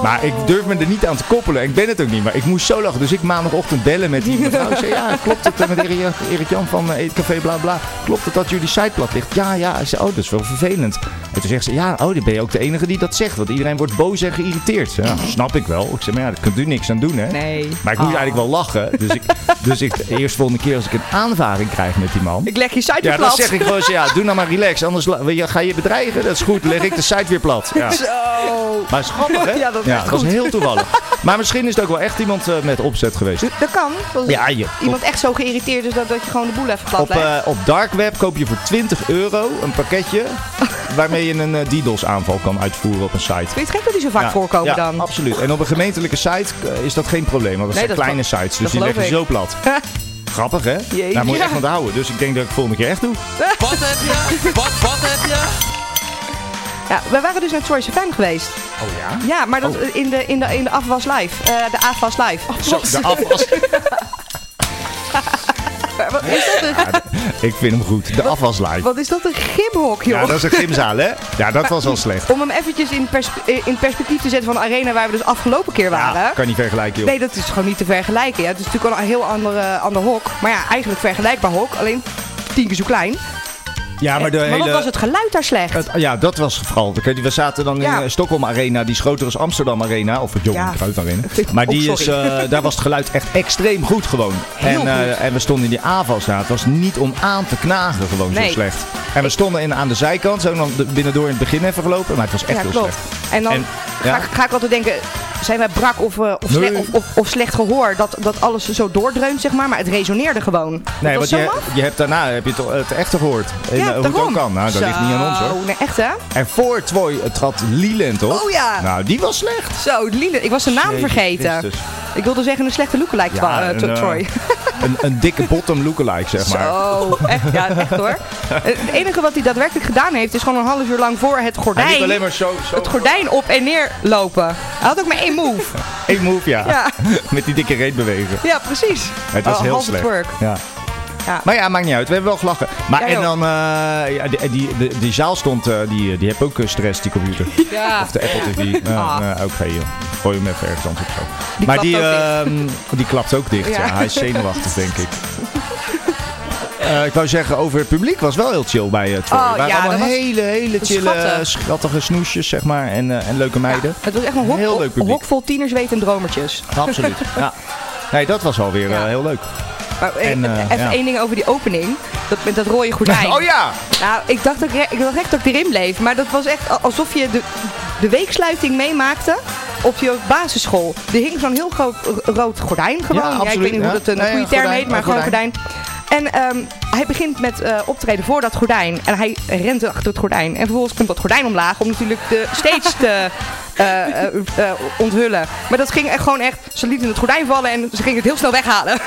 Speaker 3: Maar ik durf me er niet aan te koppelen. En ik ben het ook niet. Maar ik moest zo lachen. Dus ik maandagochtend bellen met die mevrouw. Ik zei, ja, klopt het eh, met Erik- Erik-Jan van eh, Eetcafé, bla bla. Klopt het dat jullie site plat ligt? Ja, ja. Ik zei, oh, dat is wel vervelend. En toen zegt ze, ja, oh, dan ben je ook de enige die dat zegt. Want iedereen wordt boos en geïrriteerd. Ik zei, Ja, snap ik wel. Ik zei, maar ja, daar kunt u niks aan doen, hè?
Speaker 4: Nee. Ah.
Speaker 3: Maar ik moest eigenlijk wel lachen. Dus ik, dus ik, de eerste volgende keer als ik een aanvaring krijg met die man.
Speaker 4: Ik leg je site
Speaker 3: Ja,
Speaker 4: weer
Speaker 3: dan
Speaker 4: plat.
Speaker 3: zeg ik gewoon eens, ja, doe nou maar relax. Anders la- weet je, ga je bedreigen. Dat is goed, leg ik de site weer plat. Ja.
Speaker 4: Zo.
Speaker 3: Maar is grappig, hè?
Speaker 4: Ja, dat is echt
Speaker 3: was
Speaker 4: goed.
Speaker 3: heel toevallig. Maar misschien is het ook wel echt iemand eh, met opzet geweest.
Speaker 4: Dat kan. Dat
Speaker 3: Ja, je-
Speaker 4: iemand echt zo geïrriteerd is dat, dat je gewoon de boel even plat
Speaker 3: Op,
Speaker 4: legt.
Speaker 3: eh op Dark Web koop je voor 20 euro een pakketje waarmee je een eh, DDoS-aanval kan uitvoeren op een site.
Speaker 4: Vind je het gek dat die zo vaak
Speaker 3: Ja, ja,
Speaker 4: voorkomen dan?
Speaker 3: absoluut. En op een gemeentelijke site eh, is dat geen probleem, want dat
Speaker 4: Nee,
Speaker 3: zijn
Speaker 4: dat
Speaker 3: kleine
Speaker 4: gel-
Speaker 3: sites,
Speaker 4: dat
Speaker 3: dus die
Speaker 4: geloof
Speaker 3: leggen je
Speaker 4: ik.
Speaker 3: zo plat. Grappig, hè?
Speaker 4: Jeetje.
Speaker 3: Daar moet je echt
Speaker 4: Ja.
Speaker 3: van houden, dus ik denk dat ik het volgende keer echt doe.
Speaker 10: Wat heb je? Wat, wat heb je?
Speaker 4: Ja, we waren dus naar Choice FM geweest.
Speaker 3: Oh ja?
Speaker 4: Ja, maar dat, in, de, in, de, in de afwas live. Eh, de afwas live.
Speaker 3: Zo, de afwas.
Speaker 4: Wat is dat een,
Speaker 3: Ik vind hem goed. De afwas live.
Speaker 4: wat is dat een gymhok, joh.
Speaker 3: Ja, dat is een gymzaal, hè? Ja, dat was al slecht.
Speaker 4: Om hem eventjes in, perspe- eh, in perspectief te zetten van de arena waar we dus afgelopen keer waren.
Speaker 3: Kan niet vergelijken, joh.
Speaker 4: Nee, dat is gewoon niet te vergelijken. Ja. Het is natuurlijk al een heel ander, eh, ander hok. Maar ja, eigenlijk vergelijkbaar hok. Alleen tien keer zo klein.
Speaker 3: Ja, maar de
Speaker 4: eh, Maar wat
Speaker 3: hele...
Speaker 4: was het geluid daar slecht?
Speaker 3: Het- ja, dat was het geval. Kijk, We zaten dan
Speaker 4: Ja.
Speaker 3: in eh, Stockholm Arena, die is groter als Amsterdam Arena. Of het Johan
Speaker 4: Ja.
Speaker 3: Cruijff Arena. Maar
Speaker 4: Oh,
Speaker 3: die is,
Speaker 4: sorry.
Speaker 3: eh, daar was het geluid echt extreem goed gewoon. en,
Speaker 4: Heel
Speaker 3: eh, en we stonden in die avals. Het was niet om aan te knagen gewoon zo
Speaker 4: Nee.
Speaker 3: slecht. En we stonden in, aan de zijkant, zo dan de- binnendoor in het begin even gelopen. Maar het was echt
Speaker 4: ja,
Speaker 3: heel
Speaker 4: klopt.
Speaker 3: slecht.
Speaker 4: En dan
Speaker 3: En,
Speaker 4: ga,
Speaker 3: ja.
Speaker 4: ik, ga ik altijd denken, zijn wij brak of, eh, of, sle-
Speaker 3: Nee.
Speaker 4: of, of, of slecht gehoor? Dat, dat alles zo doordreunt, zeg maar. Maar het resoneerde gewoon.
Speaker 3: Nee,
Speaker 4: dat
Speaker 3: want
Speaker 4: was zo
Speaker 3: je,
Speaker 4: maf.
Speaker 3: je hebt daarna heb je het, het echte gehoord. En, eh,
Speaker 4: Ja,
Speaker 3: hoe het
Speaker 4: daarom.
Speaker 3: ook kan. Nou, dat ligt niet aan ons hoor.
Speaker 4: Zo, Nee, echt hè?
Speaker 3: En voor Twoy trad Leland op.
Speaker 4: Oh ja.
Speaker 3: Nou, die was slecht.
Speaker 4: Zo, Lina, ik was zijn naam
Speaker 3: Jezus
Speaker 4: vergeten.
Speaker 3: Christus.
Speaker 4: Ik wilde zeggen een slechte lookalike
Speaker 3: Ja,
Speaker 4: twa- eh,
Speaker 3: een,
Speaker 4: to-
Speaker 3: eh,
Speaker 4: Troy.
Speaker 3: Een, een dikke bottom lookalike, zeg maar.
Speaker 4: Zo, echt, ja, echt hoor. Eh, Het enige wat hij daadwerkelijk gedaan heeft, is gewoon een half uur lang voor het
Speaker 3: Hij liep
Speaker 4: gordijn,
Speaker 3: alleen maar zo. zo.
Speaker 4: het gordijn op en neer lopen. Hij had ook maar één move.
Speaker 3: Eén move, ja.
Speaker 4: Ja.
Speaker 3: Met die dikke reet bewegen.
Speaker 4: Ja, precies.
Speaker 3: Het was
Speaker 4: Oh,
Speaker 3: heel
Speaker 4: halve
Speaker 3: slecht.
Speaker 4: twerk.
Speaker 3: Ja.
Speaker 4: Ja.
Speaker 3: Maar ja, maakt niet uit. We hebben wel gelachen. Maar
Speaker 4: Ja,
Speaker 3: en
Speaker 4: joh.
Speaker 3: dan, eh, ja, die, die, die, die zaal stond, eh, die, eh, die heeft ook eh, stress, die computer.
Speaker 4: Ja.
Speaker 3: Of de Apple TV. Ja,
Speaker 4: Ah.
Speaker 3: ja, Oké, joh. Gooi hem even ergens anders op. zo.
Speaker 4: Die
Speaker 3: maar
Speaker 4: klapt
Speaker 3: die,
Speaker 4: ook
Speaker 3: ehm, die klapt ook dicht. Ja.
Speaker 4: Ja.
Speaker 3: Hij is zenuwachtig, denk ik. Eh, ik wou zeggen, over het publiek was wel heel chill bij het
Speaker 4: Oh,
Speaker 3: waren
Speaker 4: ja,
Speaker 3: allemaal
Speaker 4: dat was
Speaker 3: hele, hele chille,
Speaker 4: schattig.
Speaker 3: schattige snoesjes, zeg maar. En, eh, en leuke meiden.
Speaker 4: Het was echt een hok,
Speaker 3: Heel leuk publiek.
Speaker 4: hok vol tieners, weet en dromertjes.
Speaker 3: Absoluut. Ja. Nee, dat was alweer eh, heel leuk.
Speaker 4: Maar, eh,
Speaker 3: En, eh,
Speaker 4: even
Speaker 3: ja.
Speaker 4: één ding over die opening. Dat, met dat rode gordijn.
Speaker 3: Oh ja!
Speaker 4: Nou, ik dacht, dat ik, re- ik dacht echt dat ik erin bleef. Maar dat was echt a- alsof je de, de weeksluiting meemaakte op je basisschool. Er hing zo'n heel groot ro- rood gordijn gewoon.
Speaker 3: Ja,
Speaker 4: ik
Speaker 3: absoluut,
Speaker 4: weet niet
Speaker 3: ja.
Speaker 4: hoe dat een
Speaker 3: Nee,
Speaker 4: goede
Speaker 3: een
Speaker 4: term
Speaker 3: gordijn,
Speaker 4: heet, maar
Speaker 3: een
Speaker 4: gewoon gordijn. En ehm, hij begint met eh, optreden voor dat gordijn. En hij rent achter het gordijn. En vervolgens komt dat gordijn omlaag om natuurlijk de stage te eh, eh, eh, onthullen. Maar dat ging echt gewoon echt... Ze lieten het gordijn vallen en ze gingen het heel snel weghalen.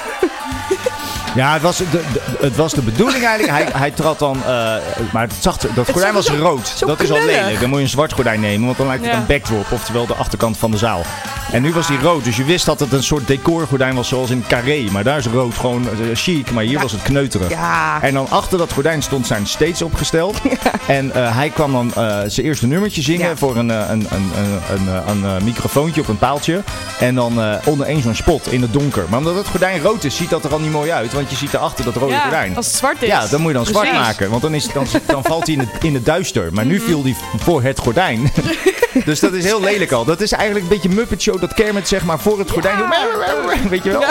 Speaker 3: Ja, het was de, de- het was de bedoeling eigenlijk. Hij, hij trad dan... eh, maar het zag, er- dat gordijn was
Speaker 4: zag er zo-
Speaker 3: rood.
Speaker 4: zo
Speaker 3: dat is al
Speaker 4: knullig.
Speaker 3: lelijk. Dan moet je een zwart gordijn nemen, want dan lijkt het
Speaker 4: Ja.
Speaker 3: een backdrop. Oftewel de achterkant van de zaal. En nu was die rood, dus je wist dat het een soort decorgordijn was zoals in Carré. Maar daar is rood gewoon eh, chic, maar hier was het kneuterig.
Speaker 4: Ja.
Speaker 3: En dan achter dat gordijn stond zijn steeds opgesteld. En eh, hij kwam dan eh, zijn eerste nummertje zingen voor een, eh, een, een, een, een, een, eh, microfoontje op een paaltje. En dan eh onder één zo'n spot in het donker. Maar omdat het gordijn rood is, ziet dat er al niet mooi uit. Want je ziet erachter dat rode
Speaker 6: Ja,
Speaker 3: gordijn.
Speaker 6: als het zwart is.
Speaker 3: Ja, dan moet je dan zwart
Speaker 6: Precies. Mhm.
Speaker 3: maken. Want dan, is, dan, dan valt hij in het, in het duister. Maar nu viel hij voor het gordijn. dus dat is heel lelijk al. Dat is eigenlijk een beetje Muppet Show dat Kermit zeg maar voor het gordijn... doet. Weet je wel?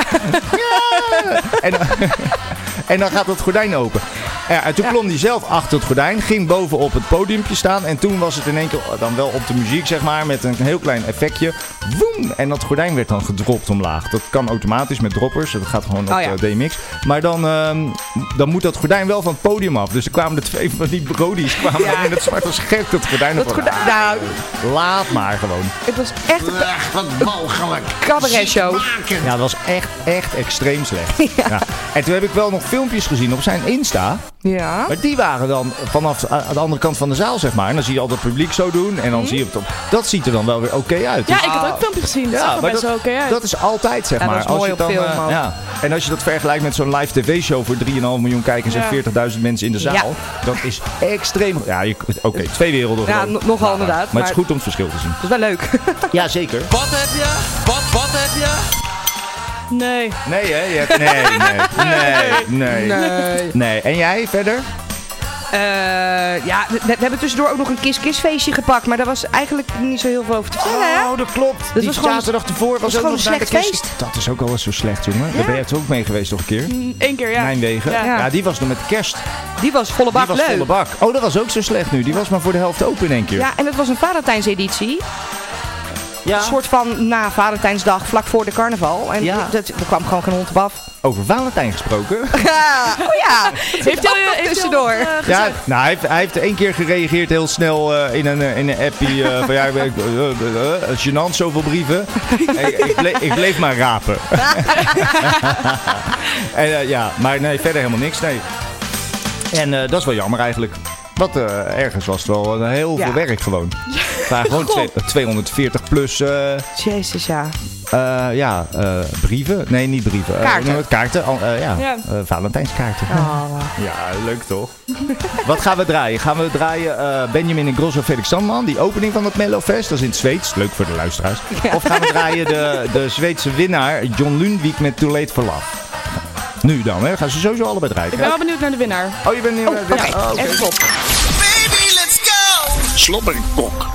Speaker 3: En, dan- en dan gaat het gordijn open. Ja, en toen klom hij zelf achter het gordijn, ging boven op het podiumpje staan. En toen was het in één keer dan wel op de muziek, zeg maar, met een heel klein effectje. Woem! En dat gordijn werd dan gedropt omlaag. Dat kan automatisch met droppers, dat gaat gewoon op
Speaker 4: Oh ja.
Speaker 3: eh, DMX. Maar dan, ehm, dan moet dat gordijn wel van het podium af. Dus er kwamen de twee van die brodies kwamen dan in het zwarte scherp dat gordijn
Speaker 4: Dat
Speaker 3: ervan.
Speaker 4: gordijn-
Speaker 3: Ah,
Speaker 4: nou.
Speaker 3: Laat maar gewoon.
Speaker 4: Het was echt een
Speaker 1: Wat mogelijk.
Speaker 4: cabaret show.
Speaker 3: Ja, dat was echt, echt extreem slecht. Ja. En toen heb ik wel nog filmpjes gezien op zijn Insta.
Speaker 4: Ja.
Speaker 3: Maar die waren dan vanaf de- aan de andere kant van de zaal, zeg maar. En dan zie je al dat publiek zo doen. En dan
Speaker 4: Mhm.
Speaker 3: zie je het op. Dat ziet er dan wel weer oké uit.
Speaker 6: Ja,
Speaker 3: Dus-
Speaker 6: ik had ook filmpjes gezien. Dat
Speaker 3: Ja,
Speaker 6: zag er
Speaker 3: maar
Speaker 6: best
Speaker 3: dat-
Speaker 6: wel oké uit.
Speaker 3: Dat is altijd, zeg
Speaker 4: Ja, dat
Speaker 3: maar.
Speaker 4: is mooi
Speaker 3: je
Speaker 4: op film,
Speaker 3: eh,
Speaker 4: man.
Speaker 3: ja. En als je dat vergelijkt met zo'n live tv-show voor 3,5 miljoen kijkers
Speaker 6: Ja.
Speaker 3: en 40.000 mensen in de zaal.
Speaker 4: Ja.
Speaker 3: Dat is extreem. Ja, je- oké, twee werelden.
Speaker 4: Ja,
Speaker 3: gewoon.
Speaker 4: no- nogal inderdaad,
Speaker 3: Maar het is
Speaker 4: maar-
Speaker 3: goed om het verschil te zien.
Speaker 4: Dat is wel leuk.
Speaker 3: Ja, zeker.
Speaker 10: Wat heb je? Wat, wat heb je?
Speaker 6: Nee.
Speaker 3: Nee, hè? Je hebt- nee, nee, nee, nee,
Speaker 4: Nee.
Speaker 3: nee. En jij verder?
Speaker 4: Eh, ja, we, we hebben tussendoor ook nog een kiss-kiss feestje gepakt. Maar daar was eigenlijk niet zo heel veel over te vertellen. hè?
Speaker 3: Oh, dat klopt.
Speaker 4: Dat
Speaker 3: die
Speaker 4: was gewoon-
Speaker 3: zaterdag ervoor was
Speaker 4: was
Speaker 3: ook nog
Speaker 4: gewoon een
Speaker 3: naar de
Speaker 4: slecht
Speaker 3: kerst. Dat is ook al eens zo slecht, jongen. Daar ben je toch ook mee geweest nog een keer?
Speaker 6: Eén Ehm, keer, ja.
Speaker 3: Nijmegen. Ja.
Speaker 6: Ja.
Speaker 3: die was nog met kerst. Die
Speaker 4: Die was volle bak
Speaker 3: was
Speaker 4: leuk.
Speaker 3: volle bak. Oh, dat was ook zo slecht nu. Die was maar voor de helft open in één keer.
Speaker 4: Ja, en het was een Valentijnseditie. Een soort van na Valentijnsdag, vlak voor de carnaval. En
Speaker 3: Ja.
Speaker 4: dat, er kwam gewoon geen hond op af.
Speaker 3: Over Valentijn gesproken.
Speaker 4: oh ja,
Speaker 6: Heeft hij
Speaker 4: nog
Speaker 6: heeft hij
Speaker 4: tussendoor.
Speaker 6: al wat, eh,
Speaker 3: Ja,
Speaker 6: gezegd?
Speaker 3: nou, hij, heeft, hij heeft één keer gereageerd heel snel eh, in, een, eh, in een appie eh, van ja, ik ben- eh, eh, eh, gênant zoveel brieven. ik, ik, ble- ik bleef maar rapen. en, eh, ja, maar nee, verder helemaal niks. Nee. En eh, dat is wel jammer eigenlijk. Wat eh, ergens was het wel eh, heel
Speaker 4: Ja.
Speaker 3: veel werk gewoon. Het waren gewoon twee- 240 plus eh,
Speaker 4: Jezus, ja.
Speaker 3: eh, ja, eh, brieven. Nee, niet brieven. Eh,
Speaker 4: Kaarten.
Speaker 3: noem het kaarten. Al- eh, ja,
Speaker 6: Ja.
Speaker 3: eh, Valentijnskaarten.
Speaker 4: Oh.
Speaker 3: Ja, leuk toch? Wat gaan we draaien? Gaan we draaien eh, Benjamin en Grosso Felix Sandman, die opening van dat Mellowfest, dat is in het Zweeds, leuk voor de luisteraars. Of gaan we draaien de, de Zweedse winnaar John Lundwijk met Too Late for Love? Nu dan, hè? Gaan ze sowieso allebei draaien.
Speaker 6: Ik ben wel benieuwd naar de winnaar.
Speaker 3: Oh, je bent nu... ja,
Speaker 4: Oké,
Speaker 3: oh, oké.
Speaker 4: even op.
Speaker 9: Baby, let's go!
Speaker 1: Slobberkok.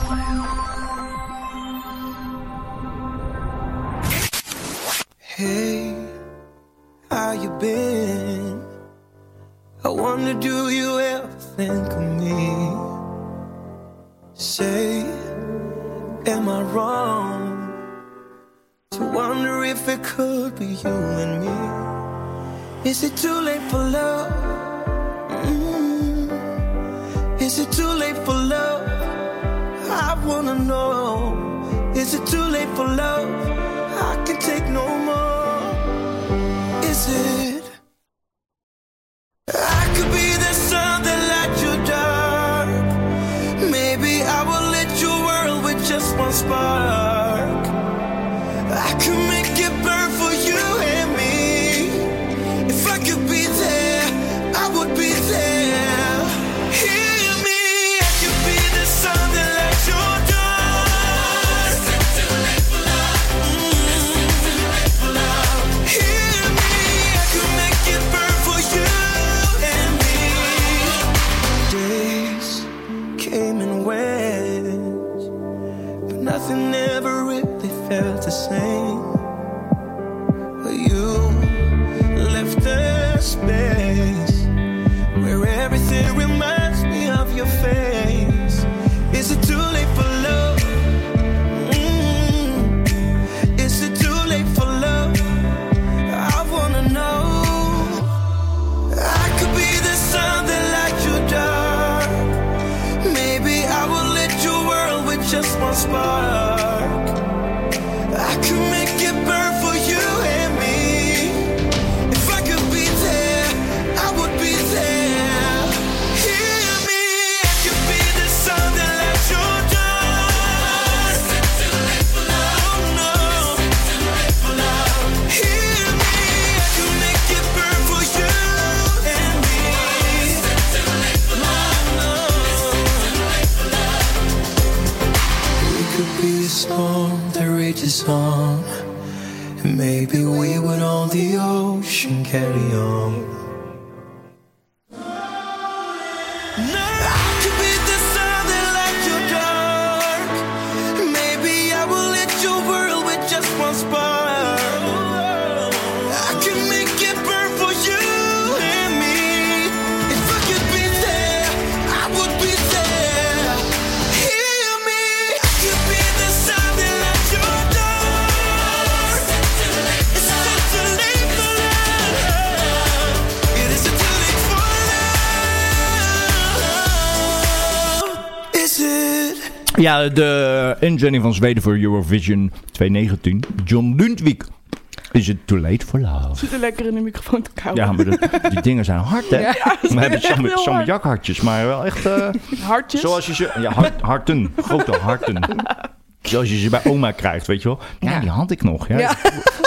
Speaker 12: Hey, how you been? I wonder, do you ever think of me? Say, am I wrong to wonder if it could be you and me? Is it too late for love? Mm. Is it too late for love? I wanna know. Is it too late for love? I can take no more. Is it? I could be the sun that lights your dark. Maybe I will let your world with just one spark. I could make it burn for you and me. If I could be there, I would be there. Hear me, I could be the sun that lights your dark. Hear me, I could make it burn for you and me. Days came and went, but nothing ever really felt the same. But you left the space where everything reminds me of your face. Is it too late for love? Mm. Is it too late for love? I wanna know. I could be the sun that lights your dark. Maybe I will lit your world with just one spark. I could make it burn for you and me. If I could be there, I would be there. Hear me, I could be Oh, song. And maybe we would on the ocean carry on. I could be the sun that lights your dark. Maybe I will lit your world with just one spark. I can make it burn for you and me. If I could be there, I would be there. Hear me. I could be the sun that lights your dark. It's not too late for love. It isn't too late for love. Is it?
Speaker 3: Ja, de inzending van Zweden voor Eurovision 2019. John Lundwijk. Is it too late for love?
Speaker 6: Zit er lekker in de microfoon te kauwen.
Speaker 3: Ja, maar dat- die dingen zijn hard, hè?
Speaker 6: Ja, ze
Speaker 3: We
Speaker 6: zijn
Speaker 3: hebben
Speaker 6: echt heel
Speaker 3: sam-
Speaker 6: hard.
Speaker 3: samjakhartjes, maar wel echt... eh,
Speaker 6: Hartjes.
Speaker 3: Zoals je ze... Ja, hart- harten. Grote harten. Zoals je ze bij oma krijgt, weet je wel. Ja, die had ik nog. Ja.
Speaker 2: Ja.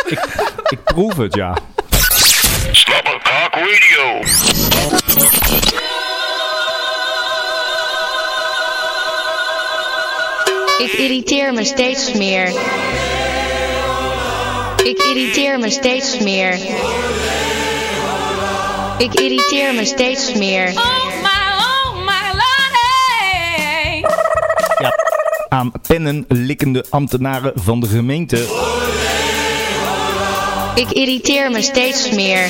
Speaker 3: Ik, ik proef het, ja.
Speaker 2: Talk Radio.
Speaker 13: Ik irriteer me steeds meer. Ik irriteer me steeds meer. Ik irriteer me steeds meer.
Speaker 3: ja. Aan pennen likkende ambtenaren van de gemeente.
Speaker 13: Ik irriteer me steeds meer.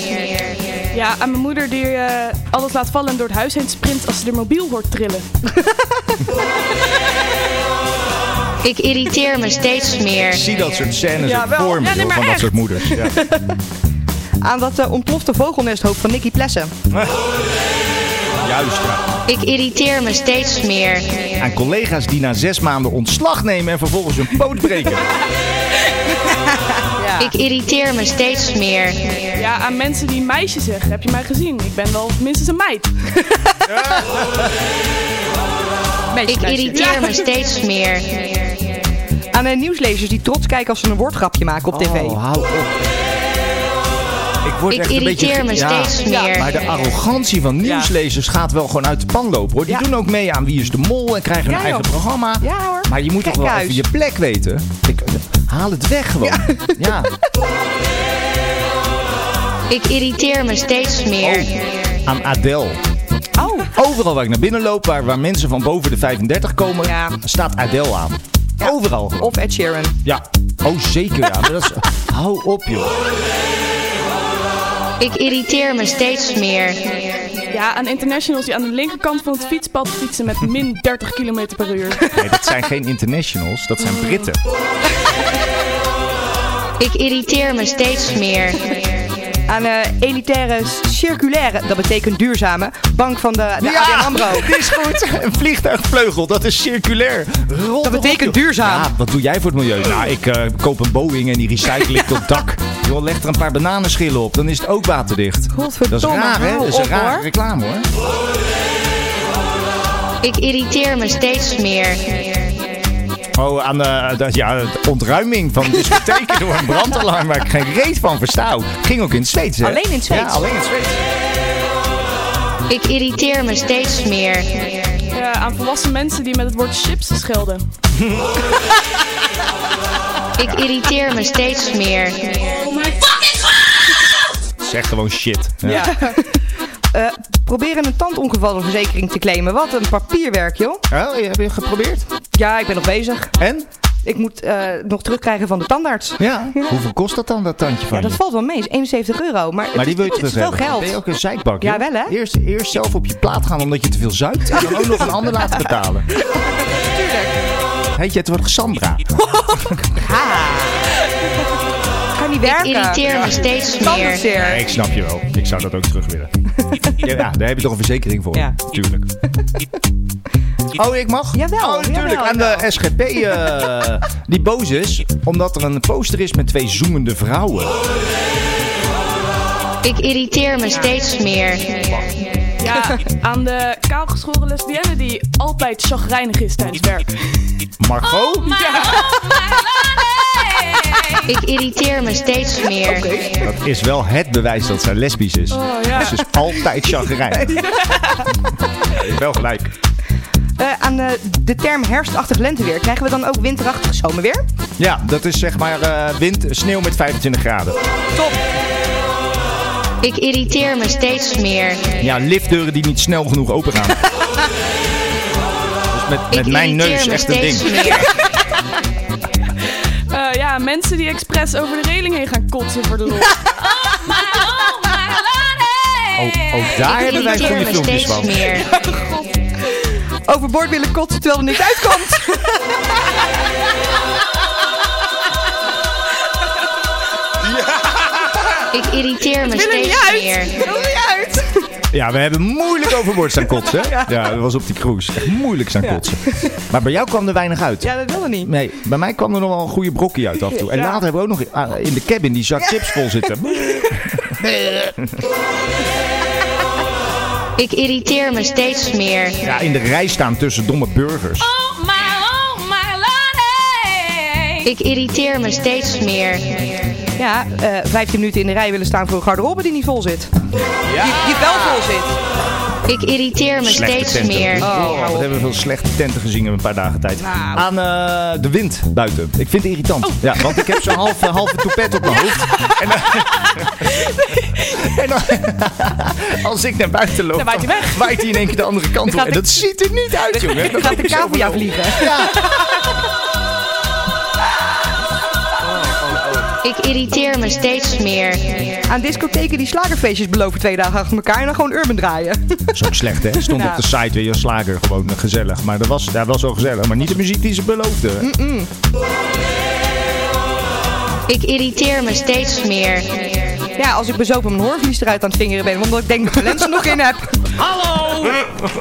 Speaker 6: Ja, aan mijn moeder die eh, alles laat vallen en door het huis heen sprint als ze de mobiel hoort trillen.
Speaker 13: Ik irriteer me steeds meer.
Speaker 3: Ik zie dat soort scènes
Speaker 4: Ja,
Speaker 3: ook
Speaker 4: wel.
Speaker 3: voor me,
Speaker 4: Ja, nee,
Speaker 3: joh,
Speaker 4: maar
Speaker 3: van dat
Speaker 4: echt.
Speaker 3: soort moeders. Ja.
Speaker 4: Aan dat eh, ontplofte vogelnesthoofd van Nicky Plessen.
Speaker 3: Juist, ja.
Speaker 13: Ik irriteer me steeds meer.
Speaker 3: Aan collega's die na zes maanden ontslag nemen en vervolgens hun poot breken.
Speaker 13: Ik irriteer me steeds meer.
Speaker 6: Ja, aan mensen die meisje zeggen, heb je mij gezien? Ik ben wel minstens een meid.
Speaker 13: Ik irriteer me steeds meer.
Speaker 4: Aan eh, nieuwslezers die trots kijken als ze een woordgrapje maken op tv.
Speaker 3: Oh, hou op. Ik, word
Speaker 4: Ik
Speaker 3: echt een beetje-
Speaker 4: irriteer me steeds meer.
Speaker 3: Maar de arrogantie van nieuwslezers gaat wel gewoon uit de pan lopen hoor. Die doen ook mee aan Wie is de Mol en krijgen
Speaker 4: Ja,
Speaker 3: hun eigen
Speaker 4: joh.
Speaker 3: programma.
Speaker 4: Ja, hoor.
Speaker 3: Maar je moet toch wel
Speaker 4: Gekhuis.
Speaker 3: even je plek weten. Ik, haal het weg gewoon. Ja.
Speaker 13: Ik irriteer me steeds meer.
Speaker 3: Aan Adele. Overal waar ik naar binnen loop, waar, waar mensen van boven de 35 komen, staat Adele aan. Overal.
Speaker 4: Of Ed Sheeran.
Speaker 3: Ja. Oh zeker ja. Maar dat is, hou op joh.
Speaker 13: Ik irriteer me steeds meer.
Speaker 6: Ja, aan internationals die aan de linkerkant van het fietspad fietsen met min 30 km per uur.
Speaker 3: Nee, dat zijn geen internationals, dat zijn Britten.
Speaker 13: Ik irriteer me steeds meer.
Speaker 4: Aan eh, elitaire circulaire, dat betekent duurzame, bank van de, de ABN AMRO.
Speaker 3: dit is goed. Een vliegtuigvleugel, dat is circulair. dat
Speaker 4: betekent duurzaam.
Speaker 3: Ja, wat doe jij voor het milieu? Nou, ik eh, koop een Boeing en die recycle ik tot dak. Joh, leg er een paar bananenschillen op, dan is het ook waterdicht.
Speaker 4: Godverdomme,
Speaker 3: dat is raar, hè?
Speaker 4: hou
Speaker 3: Dat is een
Speaker 4: op,
Speaker 3: rare
Speaker 4: hoor.
Speaker 3: reclame, hoor.
Speaker 13: Ik irriteer me steeds meer.
Speaker 3: Oh, aan de, dat- ja, de ontruiming van discotheken door een brandalarm waar ik geen reet van versta. Ging ook in het Zweeds, hè?
Speaker 13: Alleen in het Zweeds.
Speaker 3: Ja, alleen in het Zweeds.
Speaker 13: Ik irriteer me steeds meer.
Speaker 6: Ja, aan volwassen mensen die met het woord chips schelden.
Speaker 13: Ik irriteer me steeds meer.
Speaker 3: Zeg gewoon shit. Ja.
Speaker 4: Eh, proberen een tandongevallenverzekering te claimen. Wat een papierwerk, joh.
Speaker 3: Oh, heb je geprobeerd?
Speaker 4: Ja, ik ben nog bezig.
Speaker 3: En?
Speaker 4: Ik moet eh, nog terugkrijgen van de tandarts.
Speaker 3: Ja. Hoeveel kost dat dan, dat tandje van
Speaker 4: Ja, dat
Speaker 3: je?
Speaker 4: valt wel mee. Is 71 euro. Maar,
Speaker 3: Maar die wil je
Speaker 4: het is
Speaker 3: terug
Speaker 4: wel
Speaker 3: hebben.
Speaker 4: geld.
Speaker 3: Ben je ook een zeikbak?
Speaker 4: Ja,
Speaker 3: joh?
Speaker 4: wel, hè?
Speaker 3: Eerst, eerst zelf op je plaat gaan omdat je te veel zuipt. En dan ook nog een ander laten betalen. Tuurlijk. Heet je, het wordt Sandra.
Speaker 4: Kan niet
Speaker 13: Ik
Speaker 4: werken.
Speaker 13: irriteer me steeds meer.
Speaker 3: Nee, ik snap je wel. Ik zou dat ook terug willen. Ja, daar heb je toch een verzekering voor? Ja. Tuurlijk. Oh, ik mag?
Speaker 4: Jawel.
Speaker 3: Oh, natuurlijk.
Speaker 4: jawel,
Speaker 3: Aan de SGP, eh, die boos is, omdat er een poster is met twee zoemende vrouwen.
Speaker 13: Ik irriteer me steeds meer.
Speaker 6: Ja, aan de kaalgeschoren lesbienne die altijd chagrijnig is tijdens werk.
Speaker 3: Margot?
Speaker 13: Ik irriteer me steeds meer.
Speaker 3: Dat is wel het bewijs dat zij lesbisch is.
Speaker 13: Oh, ja.
Speaker 3: Ze is altijd chagrijn. Je hebt wel gelijk.
Speaker 4: eh, aan eh, de term herfstachtig lenteweer. Krijgen we dan ook winterachtig zomerweer?
Speaker 3: Ja, dat is zeg maar eh, wind, sneeuw met 25 graden.
Speaker 4: Top.
Speaker 13: Ik irriteer me steeds meer.
Speaker 3: Ja, liftdeuren die niet snel genoeg open gaan. dus met, met mijn neus echt een ding.
Speaker 6: Eh, ja, mensen die expres over de reling heen gaan kotsen voor de lol.
Speaker 3: Oh, oh, daar hebben wij goede filmpjes van.
Speaker 4: Overboord willen kotsen terwijl er niks uitkomt.
Speaker 13: Ik irriteer me
Speaker 4: Het wil er
Speaker 13: steeds
Speaker 4: niet uit.
Speaker 13: meer.
Speaker 4: Het wil er niet uit.
Speaker 3: Ja, we hebben moeilijk overboord staan kotsen. hè? Ja, dat was op die cruise. Echt moeilijk staan
Speaker 4: Ja.
Speaker 3: kotsen. Maar bij jou kwam er weinig uit.
Speaker 4: Ja, dat wilde niet.
Speaker 3: Nee, bij mij kwam er nog wel een goede brokje uit af en toe. En
Speaker 4: Ja.
Speaker 3: later hebben we ook nog ah, in de cabin die zak chips vol zitten.
Speaker 13: Ik irriteer me steeds meer.
Speaker 3: Ja, in de rij staan tussen domme burgers.
Speaker 13: Ik irriteer me steeds meer.
Speaker 4: Ja, eh 15 minuten in de rij willen staan voor een garderobe die niet vol zit. Die, die wel vol zit.
Speaker 13: Ik irriteer me
Speaker 3: Slechte
Speaker 13: steeds
Speaker 3: tenten.
Speaker 13: meer.
Speaker 3: Oh, wat hebben we veel slechte tenten gezien in een paar dagen tijd. Aan eh, de wind buiten. Ik vind het irritant. Ja, want ik heb zo'n halve, halve toepet op mijn hoofd. eh, En dan, en dan, als ik naar buiten loop,
Speaker 6: Dan waait hij weg.
Speaker 3: waait hij in één keer de andere kant op. En dat ziet er niet uit, jongen.
Speaker 4: Dan gaat de cavia vliegen.
Speaker 3: Ja.
Speaker 13: Ik irriteer me steeds meer.
Speaker 4: Aan discotheken die slagerfeestjes beloven twee dagen achter elkaar en dan gewoon urban draaien.
Speaker 3: Dat is ook slecht, hè? Stond
Speaker 4: Ja.
Speaker 3: op de site weer een slager. Gewoon eh, gezellig. Maar dat was, dat was wel gezellig. Maar niet de muziek die ze beloofden.
Speaker 13: Mm-mm. Ik irriteer me steeds meer.
Speaker 4: Ja, als ik bezopen mijn hoorvlies eruit aan het vingeren ben, omdat ik denk dat ik de lens er nog in heb. Hallo!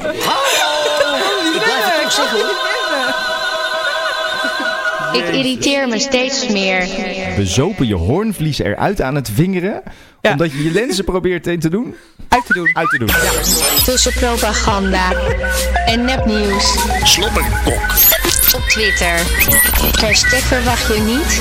Speaker 4: Hallo!
Speaker 13: Ik irriteer me steeds meer.
Speaker 3: We zopen je hoornvlies eruit aan het vingeren. Omdat je je lenzen probeert in te doen.
Speaker 4: Uit te doen.
Speaker 3: Uit te doen.
Speaker 13: Tussen propaganda en nepnieuws.
Speaker 1: Slobberkok.
Speaker 13: Op Twitter. Hashtag verwacht je niet.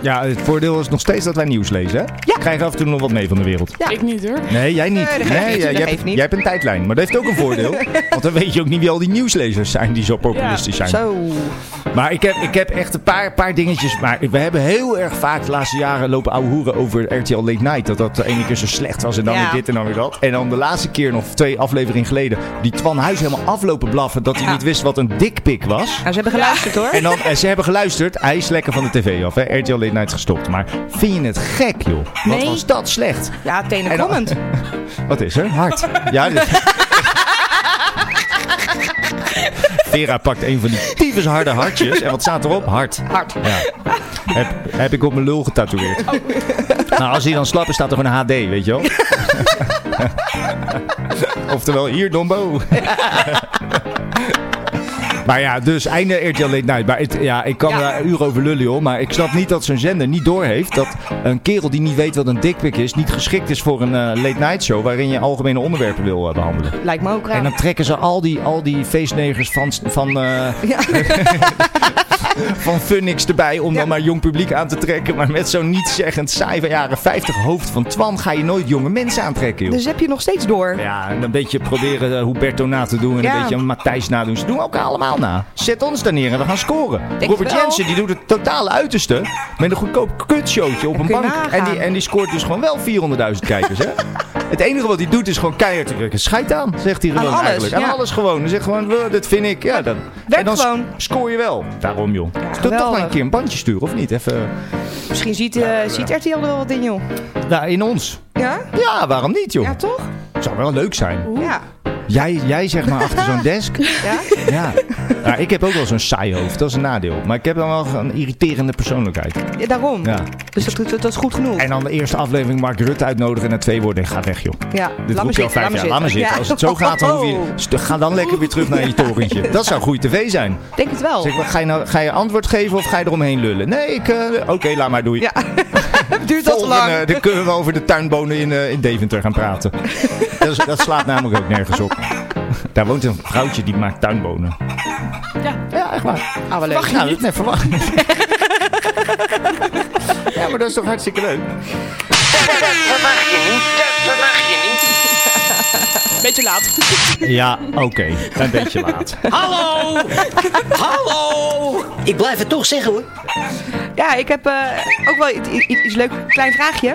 Speaker 3: Ja, het voordeel is nog steeds dat wij nieuws lezen, hè? Ja. Krijg je af en toe nog wat mee van de wereld.
Speaker 6: Ik niet hoor.
Speaker 3: Nee, jij niet.
Speaker 6: Nee, dat
Speaker 3: Nee,
Speaker 6: geeft
Speaker 3: jij,
Speaker 6: niet, dat
Speaker 3: jij,
Speaker 6: geeft
Speaker 3: hebt,
Speaker 6: niet.
Speaker 3: jij hebt een tijdlijn. Maar dat heeft ook een voordeel. want dan weet je ook niet wie al die nieuwslezers zijn die zo populistisch zijn.
Speaker 4: Zo.
Speaker 3: Maar ik heb, ik heb echt een paar, paar dingetjes. Maar we hebben heel erg vaak de laatste jaren lopen ouwe hoeren over RTL Late Night. Dat dat de ene keer zo slecht was en dan
Speaker 4: Ja.
Speaker 3: weer dit en dan weer dat. En dan de laatste keer nog twee afleveringen geleden. Die Twan Huis helemaal aflopen blaffen dat hij niet wist wat een dikpik was.
Speaker 4: Nou, ze hebben geluisterd hoor.
Speaker 3: En dan, en ze hebben geluisterd. Hij is lekker van de tv af. Hè? RTL Late Night is gestopt. Maar vind je het gek, joh? Wat
Speaker 4: Nee.
Speaker 3: was dat slecht?
Speaker 4: Ja, tenen
Speaker 3: En dan-
Speaker 4: comment.
Speaker 3: Wat is er? Hard. Ja, dit- Vera pakt een van die tyfus harde hartjes. En wat staat erop? Hard.
Speaker 4: Hard.
Speaker 3: Ja. Heb, heb ik op mijn lul getatoeëerd. Nou, als hij dan slap is, staat er gewoon HD, weet je wel. Oftewel, hier Dombo. Maar ja, dus einde RTL Late Night. Maar het- ja, ik kan daar uren over lullen, joh. Maar ik snap niet dat zo'n zender niet doorheeft... dat een kerel die niet weet wat een dikpik is... niet geschikt is voor een eh, late night show... waarin je algemene onderwerpen wil eh, behandelen.
Speaker 4: Lijkt me ook raar.
Speaker 3: En dan trekken ze al die, al die feestnegers van, van, eh van Funix erbij... om dan maar jong publiek aan te trekken. Maar met zo'n nietszeggend saai van jaren 50 hoofd van Twan... ga je nooit jonge mensen aantrekken, joh.
Speaker 4: Dus heb je nog steeds door.
Speaker 3: Ja, en een beetje proberen eh, Huberto na te doen en
Speaker 4: Ja.
Speaker 3: een beetje Matthijs na te doen. Ze doen elkaar allemaal na. Zet ons daar neer en we gaan scoren.
Speaker 4: Denk
Speaker 3: Robert
Speaker 4: je wel?
Speaker 3: Jensen die doet het totale uiterste met een goedkoop kutshowtje op een
Speaker 4: kun je
Speaker 3: bank.
Speaker 4: nagaan.
Speaker 3: En die, en die scoort dus gewoon wel 400.000 kijkers, hè? Het enige wat hij doet is gewoon keihard te drukken. Scheid aan, zegt hij
Speaker 4: Aan
Speaker 3: gewoon
Speaker 4: alles,
Speaker 3: eigenlijk. Aan
Speaker 4: ja.
Speaker 3: alles gewoon. Hij zegt gewoon, "Wuh, dit vind ik. Ja, dan.
Speaker 4: Werkt
Speaker 3: en dan
Speaker 4: gewoon.
Speaker 3: scoor je wel. Daarom, joh. Dus doe toch
Speaker 4: geweldig.
Speaker 3: maar een keer een bandje sturen, of niet? Even,
Speaker 4: Misschien ziet, eh ziet RTL er wel wat in, joh.
Speaker 3: nou, in ons.
Speaker 4: Ja?
Speaker 3: Ja, waarom niet, joh?
Speaker 4: Ja, toch?
Speaker 3: Zou wel leuk zijn.
Speaker 4: Ja.
Speaker 3: Jij, jij zeg maar achter zo'n desk.
Speaker 4: Ja?
Speaker 3: Ja. Nou, ik heb ook wel zo'n saai hoofd, dat is een nadeel. Maar ik heb dan wel een irriterende persoonlijkheid.
Speaker 4: Ja, daarom.
Speaker 3: Ja.
Speaker 4: Dus dat, dat, dat is goed genoeg.
Speaker 3: En dan de eerste aflevering Mark Rutte uitnodigen en na twee woorden, ga weg joh.
Speaker 4: Ja,
Speaker 3: Dit roep je al vijf jaar, laat me zitten.
Speaker 4: Ja.
Speaker 3: Als het zo gaat, dan hoef je, st- ga dan lekker weer terug naar je torentje. Dat zou goede tv zijn.
Speaker 4: Denk het wel.
Speaker 3: Zeg, maar, ga, je nou, ga je antwoord geven of ga je eromheen lullen? Nee, ik... eh, Oké, laat maar, doei.
Speaker 4: Ja, duurt dat
Speaker 3: Volgende,
Speaker 4: lang.
Speaker 3: Dan kunnen we over de tuinbonen in, eh, in Deventer gaan praten. dat, is- dat slaat namelijk ook nergens op. Daar woont een vrouwtje die maakt tuinbonen. Ja, echt waar.
Speaker 4: Ah, wel leuk.
Speaker 3: Verwacht je
Speaker 4: Nou,
Speaker 3: niet? Nee, verwacht Ja, maar dat is toch hartstikke leuk?
Speaker 6: Beetje beetje laat.
Speaker 3: Ja, oké. Een beetje laat.
Speaker 14: Hallo! Hallo! Ik blijf het toch zeggen hoor.
Speaker 4: Ja, ik heb eh, ook wel iets, iets, iets leuks. Klein vraagje.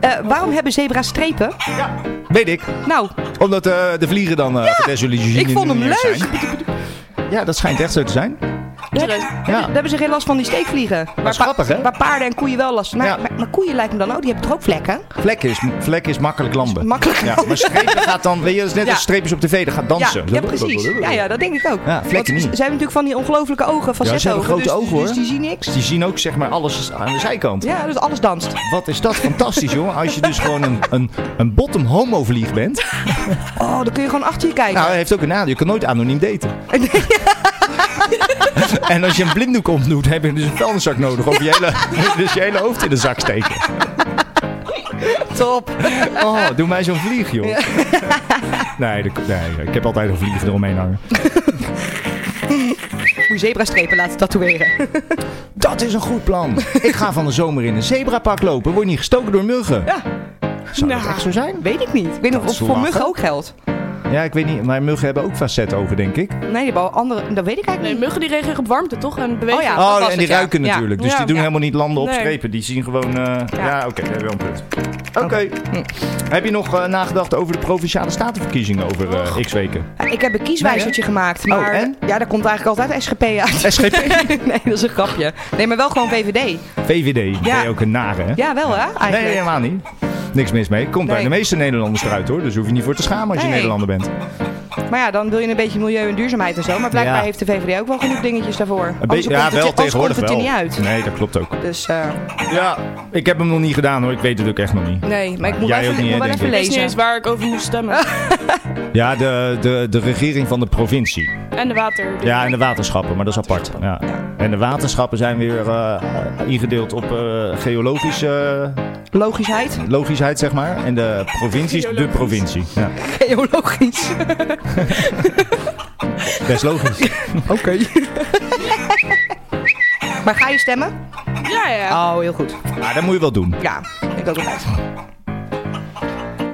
Speaker 4: Eh, waarom hebben zebra's strepen?
Speaker 3: Weet ik.
Speaker 4: Nou.
Speaker 3: Omdat eh, de vliegen dan eh ja,
Speaker 4: ik vond hem leuk.
Speaker 3: Ja, dat schijnt echt zo te zijn.
Speaker 4: Ja, Daar hebben ze geen last van die steekvliegen. Waar, pa-
Speaker 3: grappig, hè?
Speaker 4: waar paarden en koeien wel last van hebben. Maar, maar koeien lijkt me dan ook, die hebben toch ook vlekken?
Speaker 3: Vlek is, vlek is makkelijk lamben.
Speaker 4: makkelijk
Speaker 3: Ja, maar strepen gaat dan... Weet je, dat is net
Speaker 4: Ja.
Speaker 3: als streepjes op tv. Dat gaat dansen.
Speaker 4: Ja, ja, precies. Ja, ja, dat denk ik ook.
Speaker 3: Ja, vlekken
Speaker 4: Want
Speaker 3: niet.
Speaker 4: Ze hebben natuurlijk van die ongelofelijke ogen, van
Speaker 3: Ja, ze hebben grote
Speaker 4: dus,
Speaker 3: ogen hoor.
Speaker 4: Dus die zien niks.
Speaker 3: Die zien ook zeg maar alles aan de zijkant.
Speaker 4: Ja, dus alles danst.
Speaker 3: Wat is dat fantastisch jongen. Als je dus gewoon een, een, een bottom homo vlieg bent.
Speaker 4: Oh, dan kun je gewoon achter je kijken.
Speaker 3: Nou, hij heeft ook een nadeel. Je kan nooit anoniem daten. en als je een blinddoek omdoet, heb je dus een vuilniszak nodig. Of je hele, dus je hele hoofd in de zak steken.
Speaker 4: Top.
Speaker 3: Oh, doe mij zo'n vlieg, joh. Nee, dat- nee, ik heb altijd een vlieg eromheen hangen.
Speaker 4: Moet je zebrastrepen laten tatoeëren.
Speaker 3: Dat is een goed plan. Ik ga van de zomer in een zebrapak lopen. Word je niet gestoken door muggen? Ja. Zou
Speaker 6: Nou.
Speaker 3: dat echt zo zijn?
Speaker 4: Weet ik niet. Ik weet nog of
Speaker 3: Dat
Speaker 4: het
Speaker 3: is
Speaker 4: voor
Speaker 3: lachen.
Speaker 4: muggen ook geldt.
Speaker 3: Ja, ik weet niet. Maar muggen hebben ook facetogen, denk ik.
Speaker 4: Nee, die hebben al andere... Dat weet ik eigenlijk
Speaker 6: Nee,
Speaker 4: niet.
Speaker 6: muggen die reageren op warmte toch? En bewegen.
Speaker 4: ja.
Speaker 3: oh,
Speaker 4: dat was
Speaker 3: en die
Speaker 4: het, ja.
Speaker 3: ruiken
Speaker 4: Ja.
Speaker 3: natuurlijk. Dus
Speaker 6: Ja.
Speaker 3: die doen
Speaker 6: Ja.
Speaker 3: helemaal niet landen op
Speaker 6: Nee.
Speaker 3: strepen. Die zien gewoon... eh, ja, oké. daar heb je wel een punt. Oké. Hm. Heb je nog eh, nagedacht over de Provinciale Statenverkiezingen over eh, x weken?
Speaker 4: Ik heb een kieswijzertje gemaakt, maar
Speaker 3: Oh, en?
Speaker 4: ja, daar komt eigenlijk altijd SGP uit.
Speaker 3: SGP?
Speaker 4: nee, dat is een grapje. Nee, maar wel gewoon VVD.
Speaker 3: VVD, ben
Speaker 4: Ja.
Speaker 3: je ook een nare, hè?
Speaker 4: Ja, wel hè, eigenlijk.
Speaker 3: Nee, helemaal niet. Niks mis mee. Komt bij
Speaker 4: Nee.
Speaker 3: de meeste Nederlanders eruit, hoor. Dus hoef je niet voor te schamen als je
Speaker 4: Nee.
Speaker 3: Nederlander bent.
Speaker 4: Maar ja, dan wil je een beetje milieu en duurzaamheid en zo. Maar blijkbaar
Speaker 3: Ja.
Speaker 4: heeft de VVD ook wel genoeg dingetjes daarvoor. Een
Speaker 3: Een beetje- ja, wel tegenwoordig
Speaker 4: komt het
Speaker 3: wel.
Speaker 4: er niet uit.
Speaker 3: Nee, dat klopt ook.
Speaker 4: Dus, eh,
Speaker 3: Ja, ik heb hem nog niet gedaan, hoor. Ik weet het ook echt nog niet.
Speaker 4: nee, maar ik moet
Speaker 3: Jij
Speaker 4: wel even,
Speaker 3: ook niet,
Speaker 4: ik moet
Speaker 3: hè,
Speaker 4: wel
Speaker 3: denk
Speaker 4: even
Speaker 3: ik.
Speaker 6: Ik wist niet eens
Speaker 4: lezen.
Speaker 6: waar ik over moest stemmen.
Speaker 3: Ja, de, de, de regering van de provincie.
Speaker 6: en de water.
Speaker 3: Ja, en de waterschappen, maar dat is apart. Ja. En de waterschappen zijn weer eh, ingedeeld op eh, geologische
Speaker 4: Logischheid.
Speaker 3: logischheid, zeg maar. En de provincies, de provincie. Ja,
Speaker 4: Geologisch.
Speaker 3: best logisch. Oké.
Speaker 4: maar ga je stemmen?
Speaker 6: Ja, ja.
Speaker 4: Oh, heel goed.
Speaker 3: Maar dat moet je wel doen.
Speaker 4: Ja, ik ook wel uit.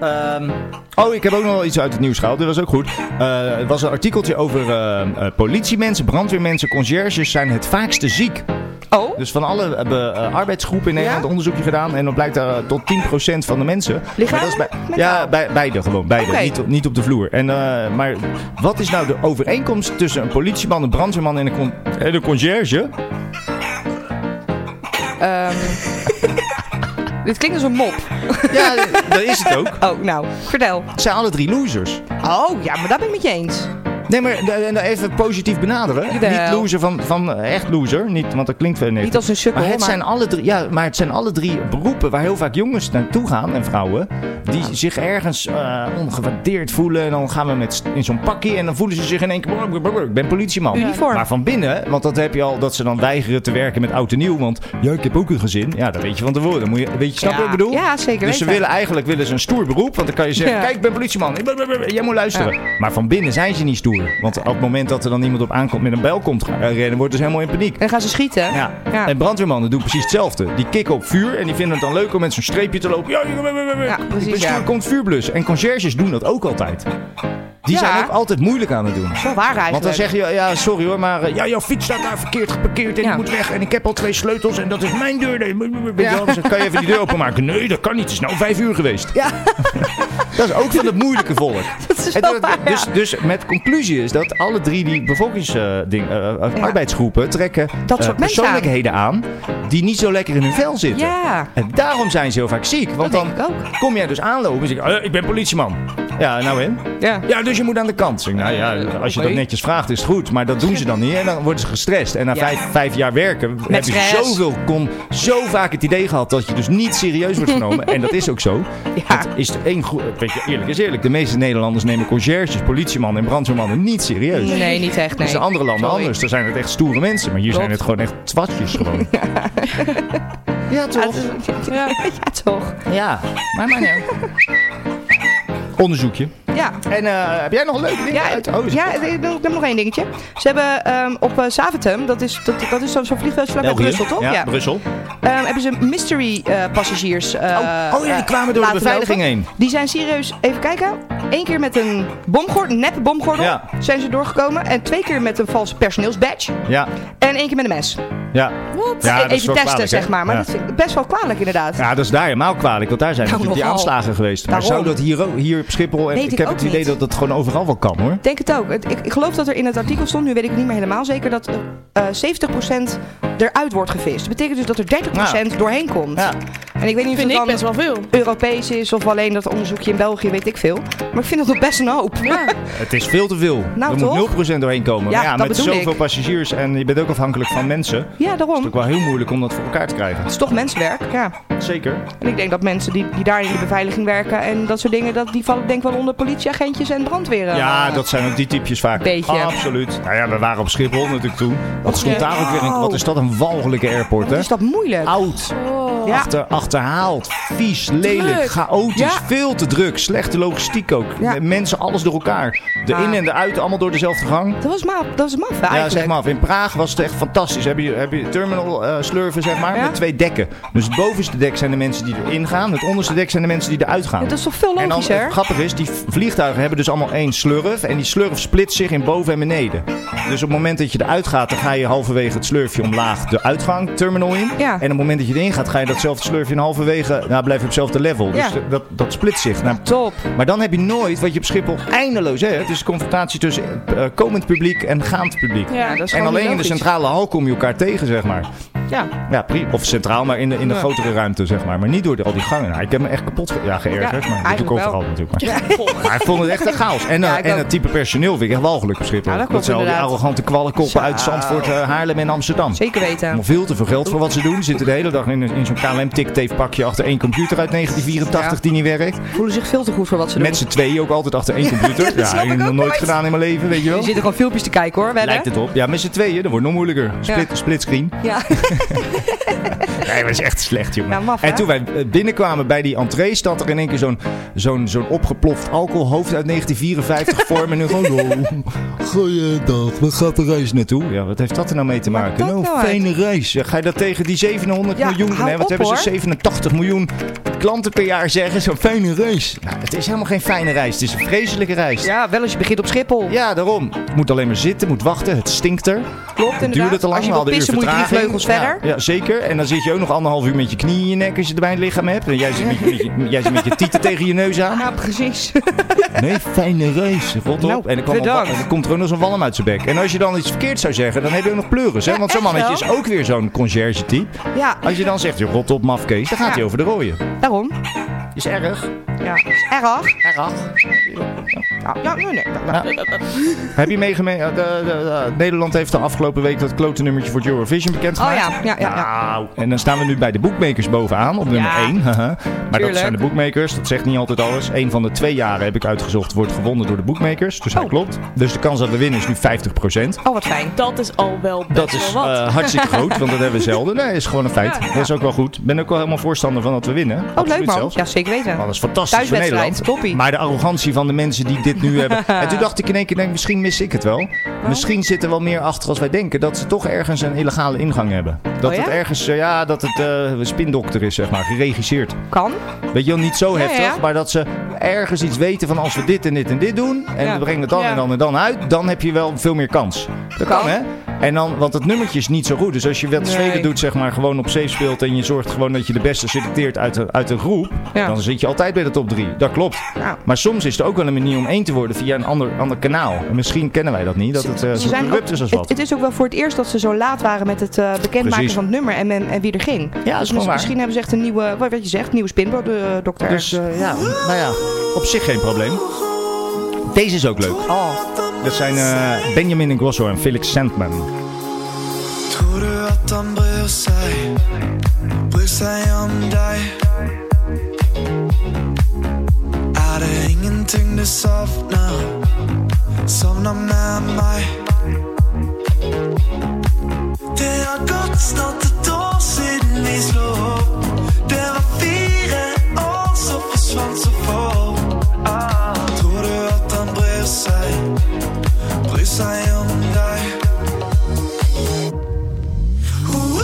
Speaker 3: Ehm, oh, ik heb ook nog wel iets uit het nieuws gehaald. Dat was ook goed. Eh, het was een artikeltje over eh, eh, politiemensen, brandweermensen, conciërges zijn het vaakste ziek.
Speaker 4: Oh?
Speaker 3: Dus van alle eh, be- eh, arbeidsgroepen in Nederland onderzoekje gedaan. En dan blijkt daar eh, tot 10% van de mensen. Maar dat is bij, ja, bij, beide gewoon. Beide.
Speaker 4: Oké.
Speaker 3: Niet, op- niet op de vloer. En, eh, maar wat is nou de overeenkomst tussen een politieman, een brandweerman en een, con en een conciërge?
Speaker 4: Ehm, dit klinkt als een mop.
Speaker 3: Ja, dat is het ook.
Speaker 4: Oh, nou, vertel.
Speaker 3: Het zijn alle drie losers.
Speaker 4: Oh, ja, maar dat ben ik met je eens.
Speaker 3: Nee, maar de- de- even positief benaderen.
Speaker 4: Jawel.
Speaker 3: Niet loser van, van eh, echt loser. Niet, want dat klinkt wel
Speaker 4: Niet als een sukkel,
Speaker 3: Maar het,
Speaker 4: maar-
Speaker 3: Zijn alle drie, ja, maar het zijn alle drie beroepen waar heel vaak jongens naartoe gaan en vrouwen. Die zich ergens eh, ongewaardeerd voelen. En dan gaan we met, st- in zo'n pakje en dan voelen ze zich in één keer... "Brr, brr, brr, Ik ben politieman.
Speaker 4: Uniform.
Speaker 3: Maar van binnen, want dat heb je al, dat ze dan weigeren te werken met oud en nieuw. Want ja, ik heb ook een gezin. Ja, dat weet je van tevoren. Dan Moet je, weet je, snap je
Speaker 4: Ja.
Speaker 3: wat ik bedoel?
Speaker 4: Ja, zeker
Speaker 3: Dus ze
Speaker 4: weten.
Speaker 3: willen eigenlijk willen ze een stoer beroep. Want dan kan je zeggen,
Speaker 4: Ja.
Speaker 3: kijk, ik ben politieman. Ik ben- ben- ben- Jij moet luisteren.
Speaker 4: Ja.
Speaker 3: Maar van binnen zijn ze niet stoer. Want op het moment dat er dan iemand op aankomt met een bel komt eh, rennen, wordt dus helemaal in paniek.
Speaker 4: En gaan ze schieten.
Speaker 3: Ja.
Speaker 4: Ja.
Speaker 3: En brandweermannen doen precies hetzelfde. Die kikken op vuur en die vinden het dan leuk om met zo'n streepje te lopen. Ja, ja, ja, ja, ja.
Speaker 4: Ja, precies,
Speaker 3: Ik ben
Speaker 4: ja.
Speaker 3: stoer, komt vuur blussen. En conciërges doen dat ook altijd. Die
Speaker 4: Ja.
Speaker 3: zijn ook altijd moeilijk aan het doen.
Speaker 4: Wel waar eigenlijk.
Speaker 3: Want dan zeg je, ja sorry hoor, maar eh, ja, jouw fiets staat daar verkeerd geparkeerd en
Speaker 4: Ja.
Speaker 3: die moet weg. En ik heb al twee sleutels en dat is mijn deur. Nee, moet- moet- moet-
Speaker 4: Ja.
Speaker 3: Dan kan je even die deur openmaken? Nee, dat kan niet. Het is nou vijf uur geweest.
Speaker 4: Ja.
Speaker 3: Dat is ook van het moeilijke volk.
Speaker 4: Dat is
Speaker 3: En
Speaker 4: wel
Speaker 3: dat-
Speaker 4: waar, ja.
Speaker 3: dus, dus met conclusie is dat alle drie die bevolkingsding, eh, arbeidsgroepen trekken
Speaker 4: Dat
Speaker 3: eh,
Speaker 4: soort mensen
Speaker 3: persoonlijkheden aan. die niet zo lekker in hun vel zitten.
Speaker 4: Ja.
Speaker 3: En daarom zijn ze heel vaak ziek. Want dan kom jij dus aanlopen en zeg je, "Eh, ik ben politieman. Ja, nou en?
Speaker 4: Ja.
Speaker 3: ja, dus je moet aan de kant. Zeg, nou ja, als je
Speaker 4: oké.
Speaker 3: dat netjes vraagt is het goed, maar dat doen ze dan niet. En dan worden ze gestrest. En na vijf, vijf jaar werken heb je
Speaker 4: stress.
Speaker 3: zoveel, kon, zo vaak het idee gehad dat je dus niet serieus wordt genomen. en dat is ook zo. Dat is de één goed. Weet je, eerlijk is eerlijk. De meeste Nederlanders nemen conciërges, politiemannen en brandweermannen niet serieus.
Speaker 4: Nee, niet echt,
Speaker 3: Dat is in
Speaker 4: nee.
Speaker 3: andere landen
Speaker 4: Sorry.
Speaker 3: anders. Daar zijn het echt stoere mensen. Maar hier zijn het gewoon echt twatjes gewoon.
Speaker 4: Ja, toch? Ja, toch?
Speaker 3: Ja, maar maar nou. Onderzoekje.
Speaker 4: Ja.
Speaker 3: En eh, heb jij nog leuke dingen
Speaker 4: ja,
Speaker 3: uit oh, de oost?
Speaker 4: Ja, ik heb nog- ik heb nog één dingetje. Ze hebben ehm, op eh, Zaventem, dat is, dat, dat is zo'n zo'n vliegveld vlakbij
Speaker 3: België?
Speaker 4: Brussel, toch?
Speaker 3: Ja, Brussel.
Speaker 4: ehm, hebben ze mystery eh, passagiers eh,
Speaker 3: oh ja, die kwamen door de
Speaker 4: laten
Speaker 3: beveiliging
Speaker 4: lopen.
Speaker 3: heen.
Speaker 4: Die zijn serieus, even kijken. Eén keer met een bomgordel, nep bomgordel
Speaker 3: Ja.
Speaker 4: zijn ze doorgekomen. En twee keer met een valse personeelsbadge.
Speaker 3: Ja.
Speaker 4: En één keer met een mes.
Speaker 3: Ja. Ja, dat
Speaker 4: Even
Speaker 3: is
Speaker 4: testen,
Speaker 3: wel kwalijk, hè?
Speaker 4: zeg maar. Maar
Speaker 3: Ja.
Speaker 4: dat vind ik best wel kwalijk, inderdaad.
Speaker 3: Ja, dat is daar helemaal kwalijk, want daar zijn
Speaker 4: Nou,
Speaker 3: natuurlijk die
Speaker 4: nogal.
Speaker 3: aanslagen geweest. Maar
Speaker 4: Daarom.
Speaker 3: zou dat hier, ook- hier op Schiphol... En
Speaker 4: Weet
Speaker 3: ik,
Speaker 4: ik
Speaker 3: heb
Speaker 4: ook
Speaker 3: het idee
Speaker 4: niet.
Speaker 3: dat dat gewoon overal wel kan, hoor.
Speaker 4: Ik denk het ook. Het- Ik, ik geloof dat er in het artikel stond, nu weet ik het niet meer helemaal zeker, dat eh, eh, 70% eruit wordt gevist. Dat betekent dus dat er 30% doorheen komt. En ik weet niet
Speaker 6: Vind
Speaker 4: of
Speaker 6: ik
Speaker 4: het
Speaker 6: best
Speaker 4: dan
Speaker 6: wel veel.
Speaker 4: Europees is of alleen dat onderzoekje in België, weet ik veel. Maar ik vind dat nog best een hoop.
Speaker 3: Het is veel te veel. er
Speaker 4: Nou, toch?
Speaker 3: moet 0% doorheen komen.
Speaker 4: Ja,
Speaker 3: Maar ja
Speaker 4: dat
Speaker 3: met
Speaker 4: bedoel
Speaker 3: zoveel
Speaker 4: ik.
Speaker 3: passagiers en je bent ook afhankelijk van mensen. Het
Speaker 4: Ja,
Speaker 3: is
Speaker 4: daarom.
Speaker 3: ook wel heel moeilijk om dat voor elkaar te krijgen.
Speaker 4: Het is toch mensenwerk, ja.
Speaker 3: Zeker.
Speaker 4: En ik denk dat mensen die, die daar in de beveiliging werken en dat soort dingen, dat, die vallen denk ik wel onder politieagentjes en brandweer.
Speaker 3: Ja,
Speaker 4: eh,
Speaker 3: dat zijn ook die typjes vaak.
Speaker 4: Beetje.
Speaker 3: Absoluut. Nou ja, we waren op Schiphol natuurlijk toen. Wat stond
Speaker 4: Ja.
Speaker 3: daar ook weer in? Wat is dat een walgelijke airport, hè?
Speaker 4: Is dat moeilijk?
Speaker 3: Oud.
Speaker 4: Oh. Ja.
Speaker 3: Achter, achterhaald, vies, lelijk,
Speaker 4: Druk.
Speaker 3: chaotisch,
Speaker 4: Ja.
Speaker 3: veel te druk, slechte logistiek ook.
Speaker 4: Ja.
Speaker 3: Mensen, alles door elkaar. De
Speaker 4: Ah.
Speaker 3: in en de uit, allemaal door dezelfde gang.
Speaker 4: Dat was maf, dat is maf hè, eigenlijk.
Speaker 3: Ja, zeg maar af. In Praag was het echt fantastisch. Heb je, heb je terminal eh, slurven, zeg maar, met twee dekken. Dus het bovenste dek zijn de mensen die erin gaan. Het onderste dek zijn de mensen die eruit gaan.
Speaker 4: Ja, dat is toch veel
Speaker 3: En dan,
Speaker 4: logischer?
Speaker 3: het grappige is, die vliegtuigen hebben dus allemaal één slurf. En die slurf splitst zich in boven en beneden. Dus op het moment dat je eruit gaat, dan ga je halverwege het slurfje omlaag de uitgang, terminal in. En op het moment dat je erin gaat, ga je datzelfde slurfje in halverwege, nou blijf je op hetzelfde level. Dus
Speaker 4: Ja.
Speaker 3: de- dat, dat split zich. Nou,
Speaker 4: Top.
Speaker 3: Maar dan heb je nooit, wat je op Schiphol eindeloos hebt, dus confrontatie tussen eh, komend publiek en gaand publiek.
Speaker 4: Ja, dat is
Speaker 3: en
Speaker 4: gewoon
Speaker 3: alleen in de
Speaker 4: logisch.
Speaker 3: centrale hal kom je elkaar tegen, zeg maar.
Speaker 4: Ja.
Speaker 3: Ja, prima. Of centraal, maar in de, in de
Speaker 4: Ja.
Speaker 3: grotere ruimte, zeg maar. Maar niet door de- al die gangen. Nou, ik heb me echt kapot ge ja, geërgerd,
Speaker 4: Ja,
Speaker 3: maar dat doe ik
Speaker 4: eigenlijk wel.
Speaker 3: overal natuurlijk. Maar. Maar ik vond het echt een chaos. En, eh,
Speaker 4: Ja, ik
Speaker 3: en
Speaker 4: ook.
Speaker 3: het type personeel vind ik echt walgelijk op Schiphol.
Speaker 4: Ja, dat klopt
Speaker 3: zijn al die
Speaker 4: inderdaad.
Speaker 3: arrogante kwallenkoppen uit Zandvoort, eh, Haarlem en Amsterdam.
Speaker 4: Zeker weten.
Speaker 3: Om veel te veel geld voor wat ze doen. Zitten de hele dag in, een- in zo'n KLM ticktape pakje achter één computer uit 1984 die niet werkt.
Speaker 4: Voelen zich veel te goed voor wat ze doen.
Speaker 3: Met z'n tweeën ook altijd achter één
Speaker 4: Ja,
Speaker 3: computer.
Speaker 4: dat snap
Speaker 3: Ja,
Speaker 4: ik
Speaker 3: heb ik
Speaker 4: ook
Speaker 3: nog nooit
Speaker 4: nooit.
Speaker 3: gedaan in mijn leven, weet je
Speaker 4: Je
Speaker 3: wel.
Speaker 4: zit er gewoon filmpjes te kijken hoor, wel hè?
Speaker 3: Lijkt het op. Ja, met z'n tweeën, dat wordt nog moeilijker. Split,
Speaker 4: Ja.
Speaker 3: Splitscreen.
Speaker 4: Ja.
Speaker 3: Nee, dat is echt slecht, jongen.
Speaker 4: Ja, maf, hè?
Speaker 3: en toen wij eh, binnenkwamen bij die entree, stond er in één keer zo'n zo'n zo'n opgeploft alcoholhoofd uit 1954 voor me. En nu gewoon, oh, goeiedag, waar gaat de reis naartoe? Ja, wat heeft dat er nou mee te maken?
Speaker 4: dat
Speaker 3: Nou,
Speaker 4: nou uit?
Speaker 3: fijne reis. Ja, ga je dat tegen die 700
Speaker 4: Ja,
Speaker 3: miljoen,
Speaker 4: hou
Speaker 3: nee, wat
Speaker 4: op,
Speaker 3: hebben ze,
Speaker 4: hoor.
Speaker 3: 87 miljoen klanten per jaar zeggen? Zo'n fijne reis. Nou, het is helemaal geen fijne reis, het is een vreselijke reis.
Speaker 4: Ja, wel als je begint op Schiphol.
Speaker 3: Ja, daarom. Moet alleen maar zitten, moet wachten, het stinkt er.
Speaker 4: Klopt
Speaker 3: Het
Speaker 4: inderdaad.
Speaker 3: duurde te lang,
Speaker 4: Als je
Speaker 3: we
Speaker 4: wil
Speaker 3: hadden
Speaker 4: pissen
Speaker 3: een
Speaker 4: moet
Speaker 3: uur
Speaker 4: je drie
Speaker 3: vertraging.
Speaker 4: vleugels verder.
Speaker 3: Ja, ja, zeker. En dan zit je ook nog anderhalf uur met je knie in je nek als je erbij een lichaam hebt. En jij zit met je, met je- jij zit met je tieten tegen je neus aan.
Speaker 4: Ja, nou, precies.
Speaker 3: Nee, fijne race. Rot op.
Speaker 4: Nou,
Speaker 3: en, er kwam al
Speaker 4: bedankt.
Speaker 3: wa- en er komt er ook nog zo'n walm uit zijn bek. En als je dan iets verkeerd zou zeggen, dan heb je ook nog pleuris. hè?
Speaker 4: Ja,
Speaker 3: Want zo'n
Speaker 4: echt
Speaker 3: mannetje is
Speaker 4: wel.
Speaker 3: ook weer zo'n conciërge type.
Speaker 4: Ja.
Speaker 3: Als je dan zegt, je rot op, mafkees, dan gaat
Speaker 4: Ja.
Speaker 3: hij over de rooien.
Speaker 4: Daarom.
Speaker 3: Is erg.
Speaker 4: Ja, is erg.
Speaker 3: Erg.
Speaker 4: Ja, ja, nee, nee.
Speaker 3: Heb je meegemaakt? eh, de- de- de- Nederland heeft de afgelopen week dat klote nummertje voor het Eurovision bekendgemaakt.
Speaker 4: Oh ja, ja, ja, ja.
Speaker 3: Nou, en dan staan we nu bij de boekmakers bovenaan op nummer
Speaker 4: Ja.
Speaker 3: 1. maar dat
Speaker 4: Tuurlijk.
Speaker 3: zijn de boekmakers, dat zegt niet altijd alles. Eén van de twee jaren heb ik uitgezocht, wordt gewonnen door de boekmakers. Dus dat klopt. Dus de kans dat we winnen is nu 50%.
Speaker 4: Oh, wat fijn.
Speaker 6: Dat is al wel best
Speaker 3: Dat is
Speaker 6: wel wat.
Speaker 3: eh, hartstikke groot, want dat hebben we zelden. Nee, is gewoon een feit. Dat is ook wel goed. Ik ben ook wel helemaal voorstander van dat we winnen. Oh,
Speaker 4: leuk, man. Ja, zeker weten.
Speaker 3: Dat is fantastisch voor
Speaker 4: Thuiswedstrijd,
Speaker 3: Nederland.
Speaker 4: toppie.
Speaker 3: Maar de arrogantie van de mensen die dit nu hebben. En toen dacht ik in één keer, denk, misschien mis ik het wel. Misschien zit er wel meer achter als wij denken. Dat ze toch ergens een illegale ingang hebben. Dat
Speaker 4: Oh ja?
Speaker 3: het ergens, eh, ja, dat het eh, een spindokter is, zeg maar. Geregisseerd.
Speaker 4: Kan.
Speaker 3: Weet je wel, niet zo
Speaker 4: Ja,
Speaker 3: heftig.
Speaker 4: ja.
Speaker 3: Maar dat ze ergens iets weten van als we dit en dit en dit doen. En
Speaker 4: Ja.
Speaker 3: we brengen het dan
Speaker 4: Ja.
Speaker 3: en dan en dan uit. Dan heb je wel veel meer kans. Dat kan,
Speaker 4: Kan.
Speaker 3: hè? En dan, want het nummertje is niet zo goed. Dus als je wat
Speaker 4: Nee.
Speaker 3: Zweden doet, zeg maar, gewoon op zee speelt. En je zorgt gewoon dat je de beste selecteert uit de, uit de groep.
Speaker 4: Ja.
Speaker 3: Dan zit je altijd bij de top 3. Dat klopt. Maar soms is er ook wel een manier om één te worden via een ander, ander kanaal. En misschien kennen wij dat niet. Dat het eh, zo corrupt is als
Speaker 4: het,
Speaker 3: wat.
Speaker 4: het is ook wel voor het eerst dat ze zo laat waren met het eh, bekendmaken
Speaker 3: Precies.
Speaker 4: van het nummer en, men- en wie er ging.
Speaker 3: gewoon
Speaker 4: dus
Speaker 3: waar.
Speaker 4: misschien hebben ze echt een nieuwe, wat je zegt, nieuwe spinbordokter.
Speaker 3: Dus eh, ja, nou ja, op zich geen probleem. Deze is ook leuk. Dat zijn eh, Benjamin Ingrosso en Felix Sandman.
Speaker 12: Tror du att han bryr sig? Bryr sig om dig? Är det ingenting du saknar? Somna med mig Det har gått snart ett år sedan vi slog upp Det var fyra år så försvann så få ah. Tror du att han bryr sig? Bryr sig om dig? Ooh.
Speaker 7: Ah.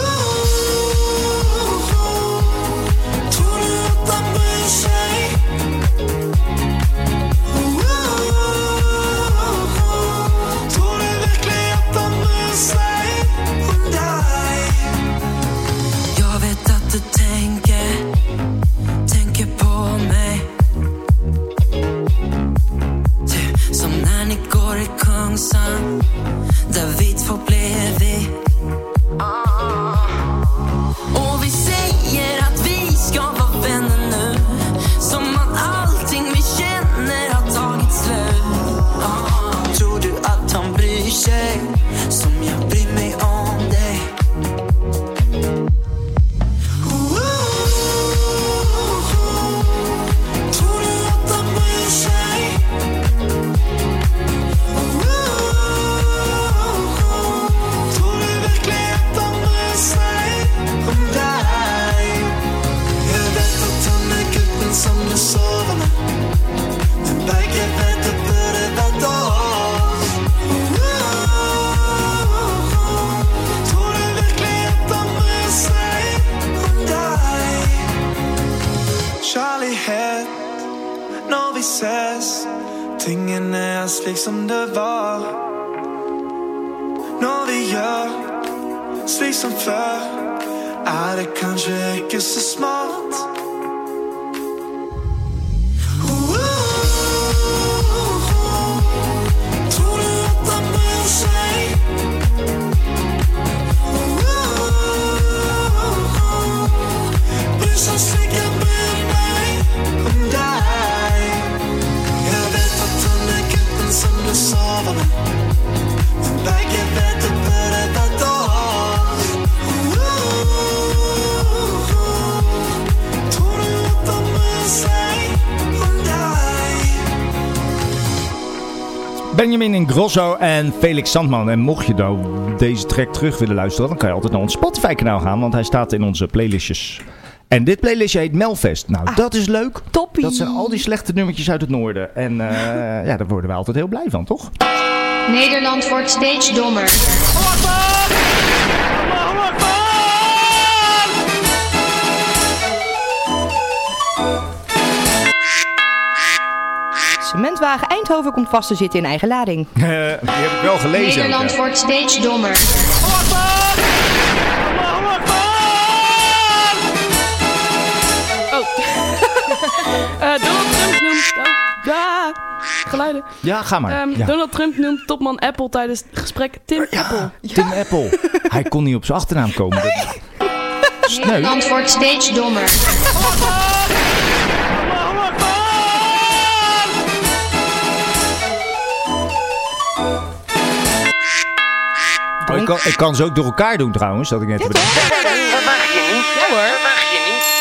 Speaker 12: når vi ses Tingene er slik som det var Når vi gjør slik som før Er det kanskje ikke så smart
Speaker 3: Benjamin Ingrosso en Felix Sandman. En mocht je nou deze track terug willen luisteren, dan kan je altijd naar ons Spotify-kanaal gaan, want hij staat in onze playlistjes. En dit playlistje heet Melfest. Nou, dat is leuk.
Speaker 4: Toppie.
Speaker 3: Dat zijn al die slechte nummertjes uit het noorden. En eh, ja, daar worden we altijd heel blij van, toch?
Speaker 13: Nederland wordt steeds dommer.
Speaker 4: Cementwagen Eindhoven komt vast te zitten in eigen lading.
Speaker 3: Eh, die heb ik wel gelezen.
Speaker 13: Nederland wordt steeds dommer.
Speaker 6: Oh. Eh, Donald Trump noemt... Oh, ja, geluiden.
Speaker 3: Ja, ga maar.
Speaker 6: Ehm,
Speaker 3: Ja.
Speaker 6: Donald Trump noemt topman Apple tijdens het gesprek Tim Apple.
Speaker 3: Tim Apple. Hij kon niet op zijn achternaam komen. Dat-
Speaker 13: Nederland wordt steeds dommer.
Speaker 3: Oh, ik, kan, ik kan ze ook door elkaar doen trouwens. Dat ik net bedenk.
Speaker 14: Dat mag je niet. Ja hoor. Dat mag je niet.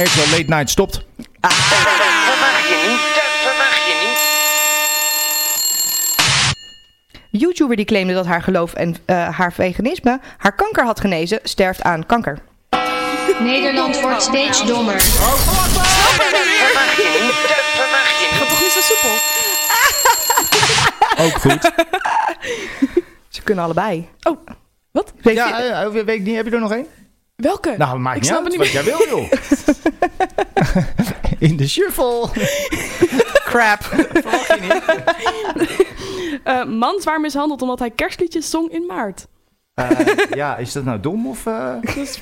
Speaker 3: Eh, RTL Late Night stopt.
Speaker 14: Dat mag je niet. Dat mag je niet.
Speaker 4: YouTuber die claimde dat haar geloof en eh, haar veganisme haar kanker had genezen, sterft aan kanker.
Speaker 13: Nederland wordt steeds dommer.
Speaker 14: Dat mag je niet. Dat mag je niet.
Speaker 6: Grappig is dat soepel.
Speaker 3: Ook goed.
Speaker 4: Ze kunnen allebei.
Speaker 6: Oh, wat?
Speaker 3: Ja, eh, eh, weet ik niet. Heb je er nog één?
Speaker 6: Welke?
Speaker 3: Nou, maakt
Speaker 6: Ik
Speaker 3: niet
Speaker 6: snap
Speaker 3: uit
Speaker 6: het
Speaker 3: wat
Speaker 6: niet
Speaker 3: jij wil, joh. In de shuffle.
Speaker 4: Crap.
Speaker 6: Eh, man zwaar mishandeld omdat hij kerstliedjes zong in maart.
Speaker 3: Eh, ja, is dat nou dom of... eh?
Speaker 6: Dus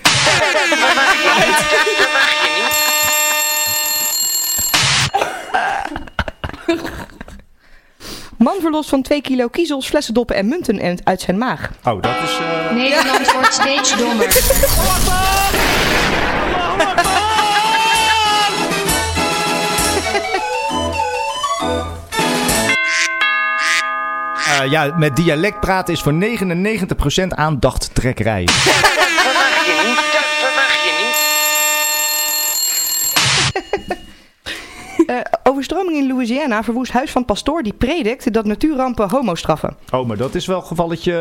Speaker 4: Man verlost van 2 kilo kiezels, flessendoppen en munten en- uit zijn maag.
Speaker 3: Oh, dat is... eh,
Speaker 13: Nederland wordt steeds dommer.
Speaker 3: eh, ja, met dialect praten is voor 99% aandachttrekkerij.
Speaker 14: Dat mag je niet. Dat mag je niet.
Speaker 4: Eh, overstroming in Louisiana verwoest huis van pastoor die predikt dat natuurrampen homo straffen.
Speaker 3: Oh, maar dat is wel gevalletje...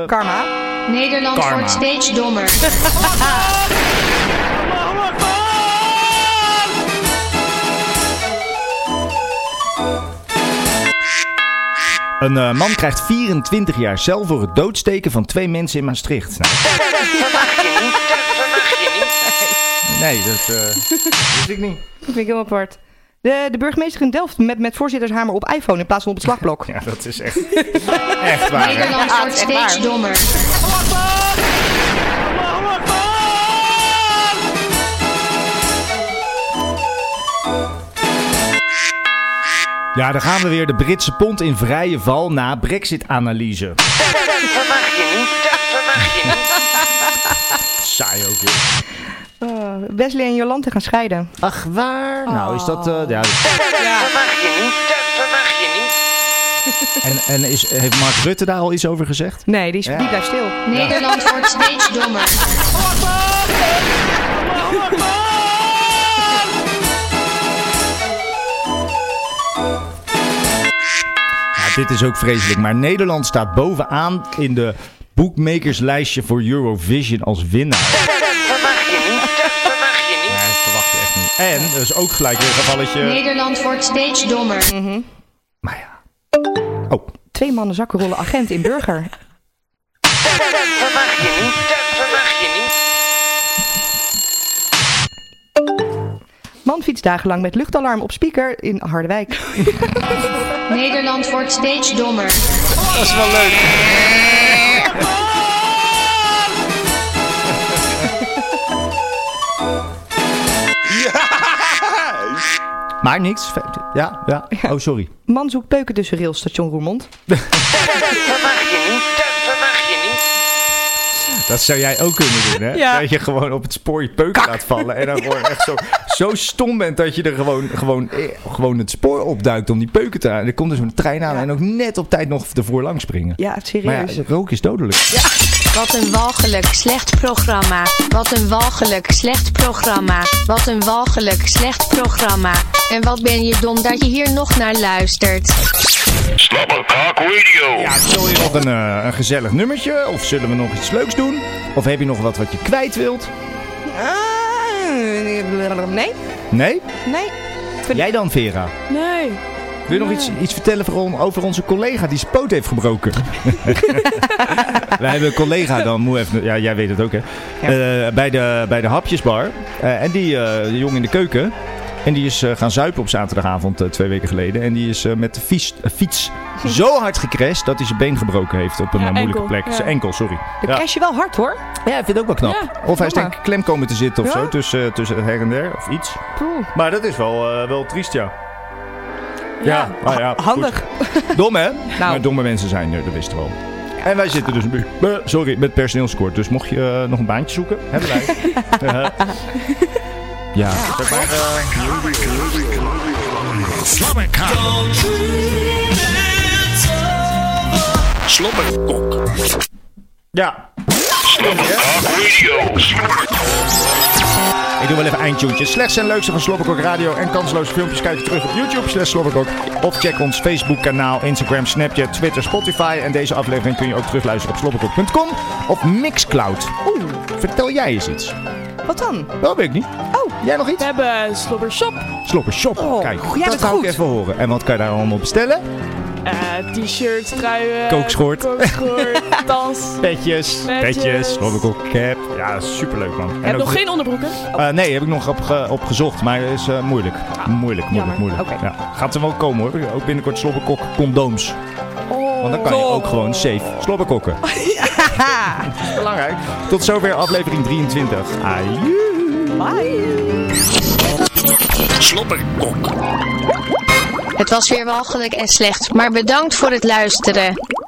Speaker 3: eh,
Speaker 4: Karma.
Speaker 13: Nederland
Speaker 3: Karma.
Speaker 13: wordt steeds dommer.
Speaker 3: Een eh, man krijgt 24 jaar cel voor het doodsteken van twee mensen in Maastricht. Nou,
Speaker 14: Dat mag je niet. Dat mag je niet.
Speaker 3: nee, dat eh wist ik niet.
Speaker 4: Dat vind ik heel apart. De, de burgemeester in Delft met, met voorzittershamer op iPhone in plaats van op het slagblok.
Speaker 3: Ja, dat is echt, echt waar. hè?
Speaker 13: Nederland
Speaker 4: Ja,
Speaker 13: wordt
Speaker 4: het is echt
Speaker 13: steeds
Speaker 4: waar.
Speaker 13: dommer.
Speaker 3: Ja, daar gaan we weer. De Britse pond in vrije val na brexit-analyse.
Speaker 14: Dat mag je niet. Dat mag je niet.
Speaker 3: Saai ook weer.
Speaker 4: Eh, Wesley en Jolante gaan scheiden.
Speaker 3: Ach, waar? Nou, is dat... eh, ja.
Speaker 14: Dat mag je niet. Dat mag je niet.
Speaker 3: En, en is, heeft Mark Rutte daar al iets over gezegd?
Speaker 4: Nee, die, is, die blijft stil.
Speaker 13: Nederland wordt steeds dommer.
Speaker 3: Ja, dit is ook vreselijk. Maar Nederland staat bovenaan in de boekmakerslijstje voor Eurovision als winnaar.
Speaker 14: Dat mag je niet. Dat mag je niet.
Speaker 3: Ja, dat verwacht je echt niet. En, dat is ook gelijk weer een gevalletje...
Speaker 13: Nederland wordt steeds dommer.
Speaker 3: Maar ja. Oh,
Speaker 4: Twee mannen zakkenrollen agent in burger.
Speaker 14: Dat mag je niet. Dat mag je niet.
Speaker 4: Man fietst dagenlang met luchtalarm op speaker in Harderwijk.
Speaker 13: Nederland wordt steeds dommer.
Speaker 3: Dat is wel leuk. Maakt niks. Ja, ja. Oh, sorry.
Speaker 4: Man zoekt peuken tussen rails, station Roermond.
Speaker 14: Dat mag je niet. Dat, dat mag je niet.
Speaker 3: Dat zou jij ook kunnen doen, hè?
Speaker 14: Ja.
Speaker 3: Dat je gewoon op het spoor je peuken laat vallen. En dan gewoon echt zo, zo stom bent dat je er gewoon, gewoon, eh, gewoon het spoor opduikt om die peuken te halen. Er komt dus een trein aan en ook net op tijd nog ervoor lang springen.
Speaker 4: Ja,
Speaker 3: Maar
Speaker 4: serieus.
Speaker 3: ja, rook is dodelijk.
Speaker 13: Wat een walgelijk slecht programma. Wat een walgelijk slecht programma. Wat een walgelijk slecht programma. En wat ben je dom dat je hier nog naar luistert.
Speaker 2: Slapperkak Radio.
Speaker 3: Ja, sorry. Nog een, eh, een gezellig nummertje? Of zullen we nog iets leuks doen? Of heb je nog wat wat je kwijt wilt?
Speaker 4: Ah, nee,
Speaker 3: Nee?
Speaker 4: nee.
Speaker 3: Jij dan, Vera?
Speaker 6: Nee.
Speaker 3: Wil je nog iets, iets vertellen voor on- over onze collega die zijn poot heeft gebroken? Wij hebben een collega dan, moet even, ja, jij weet het ook hè, Eh, bij, de, bij de hapjesbar. Eh, en die eh, de jongen in de keuken. En die is eh, gaan zuipen op zaterdagavond eh, twee weken geleden. En die is eh, met de fiets, eh, fiets zo hard gecrashed dat hij zijn been gebroken heeft op een eh, moeilijke
Speaker 4: enkel,
Speaker 3: plek.
Speaker 4: ja.
Speaker 3: Zijn enkel, sorry.
Speaker 4: Dan
Speaker 3: Ja.
Speaker 4: crash je wel hard hoor.
Speaker 3: Ja, ik vind het ook wel knap.
Speaker 4: Ja,
Speaker 3: of hij is
Speaker 4: jammer.
Speaker 3: denk ik klem komen te zitten of
Speaker 4: Ja.
Speaker 3: zo, tussen, tussen her en der of iets. Maar dat is wel, eh, wel triest, ja. Ja, nou ja handig. Nou. Dom, hè? Maar domme mensen zijn er, dat wisten we al. En wij zitten dus, nu- eh, sorry, met personeelstekort. Dus mocht je eh, nog een baantje zoeken, hebben wij. Eh, ja.
Speaker 1: Slobberkok.
Speaker 3: Ja.
Speaker 2: Slapperkak Radio.
Speaker 3: Ik doe wel even eindtuntjes. Slechts en leukste van Slobberkok Radio en kansloze filmpjes kijk je terug op YouTube slash Slobberkok. Of check ons Facebook kanaal, Instagram, Snapchat, Twitter, Spotify. En deze aflevering kun je ook terugluisteren op slobberkok.com of Mixcloud. Oeh, vertel jij eens iets.
Speaker 4: Wat dan?
Speaker 3: Dat weet ik niet. Oh, jij nog iets?
Speaker 6: We hebben eh, Slobbershop.
Speaker 3: Slobbershop, kijk.
Speaker 6: jij bent
Speaker 3: dat wou ik
Speaker 6: goed.
Speaker 3: even horen. En wat kan je daar allemaal bestellen?
Speaker 6: Eh, T-shirts, truien.
Speaker 3: Kookschort.
Speaker 6: Kookschort, dans.
Speaker 3: Petjes.
Speaker 6: Petjes.
Speaker 3: Petjes, Slobberkok cap. Ja, superleuk man.
Speaker 6: Heb
Speaker 3: ook
Speaker 6: nog
Speaker 3: de-
Speaker 6: geen onderbroeken?
Speaker 3: Eh, nee, heb ik nog op, ge- op gezocht, maar is eh, moeilijk. Moeilijk, moeilijk,
Speaker 6: jammer.
Speaker 3: moeilijk. Ja. Gaat er wel komen hoor. Ook binnenkort slobberkok condooms. Want dan kan je ook gewoon safe slobberkokken. Belangrijk. Tot zover aflevering 23. Aju.
Speaker 1: Slobberkok.
Speaker 13: Het was weer walgelijk en slecht, maar bedankt voor het luisteren.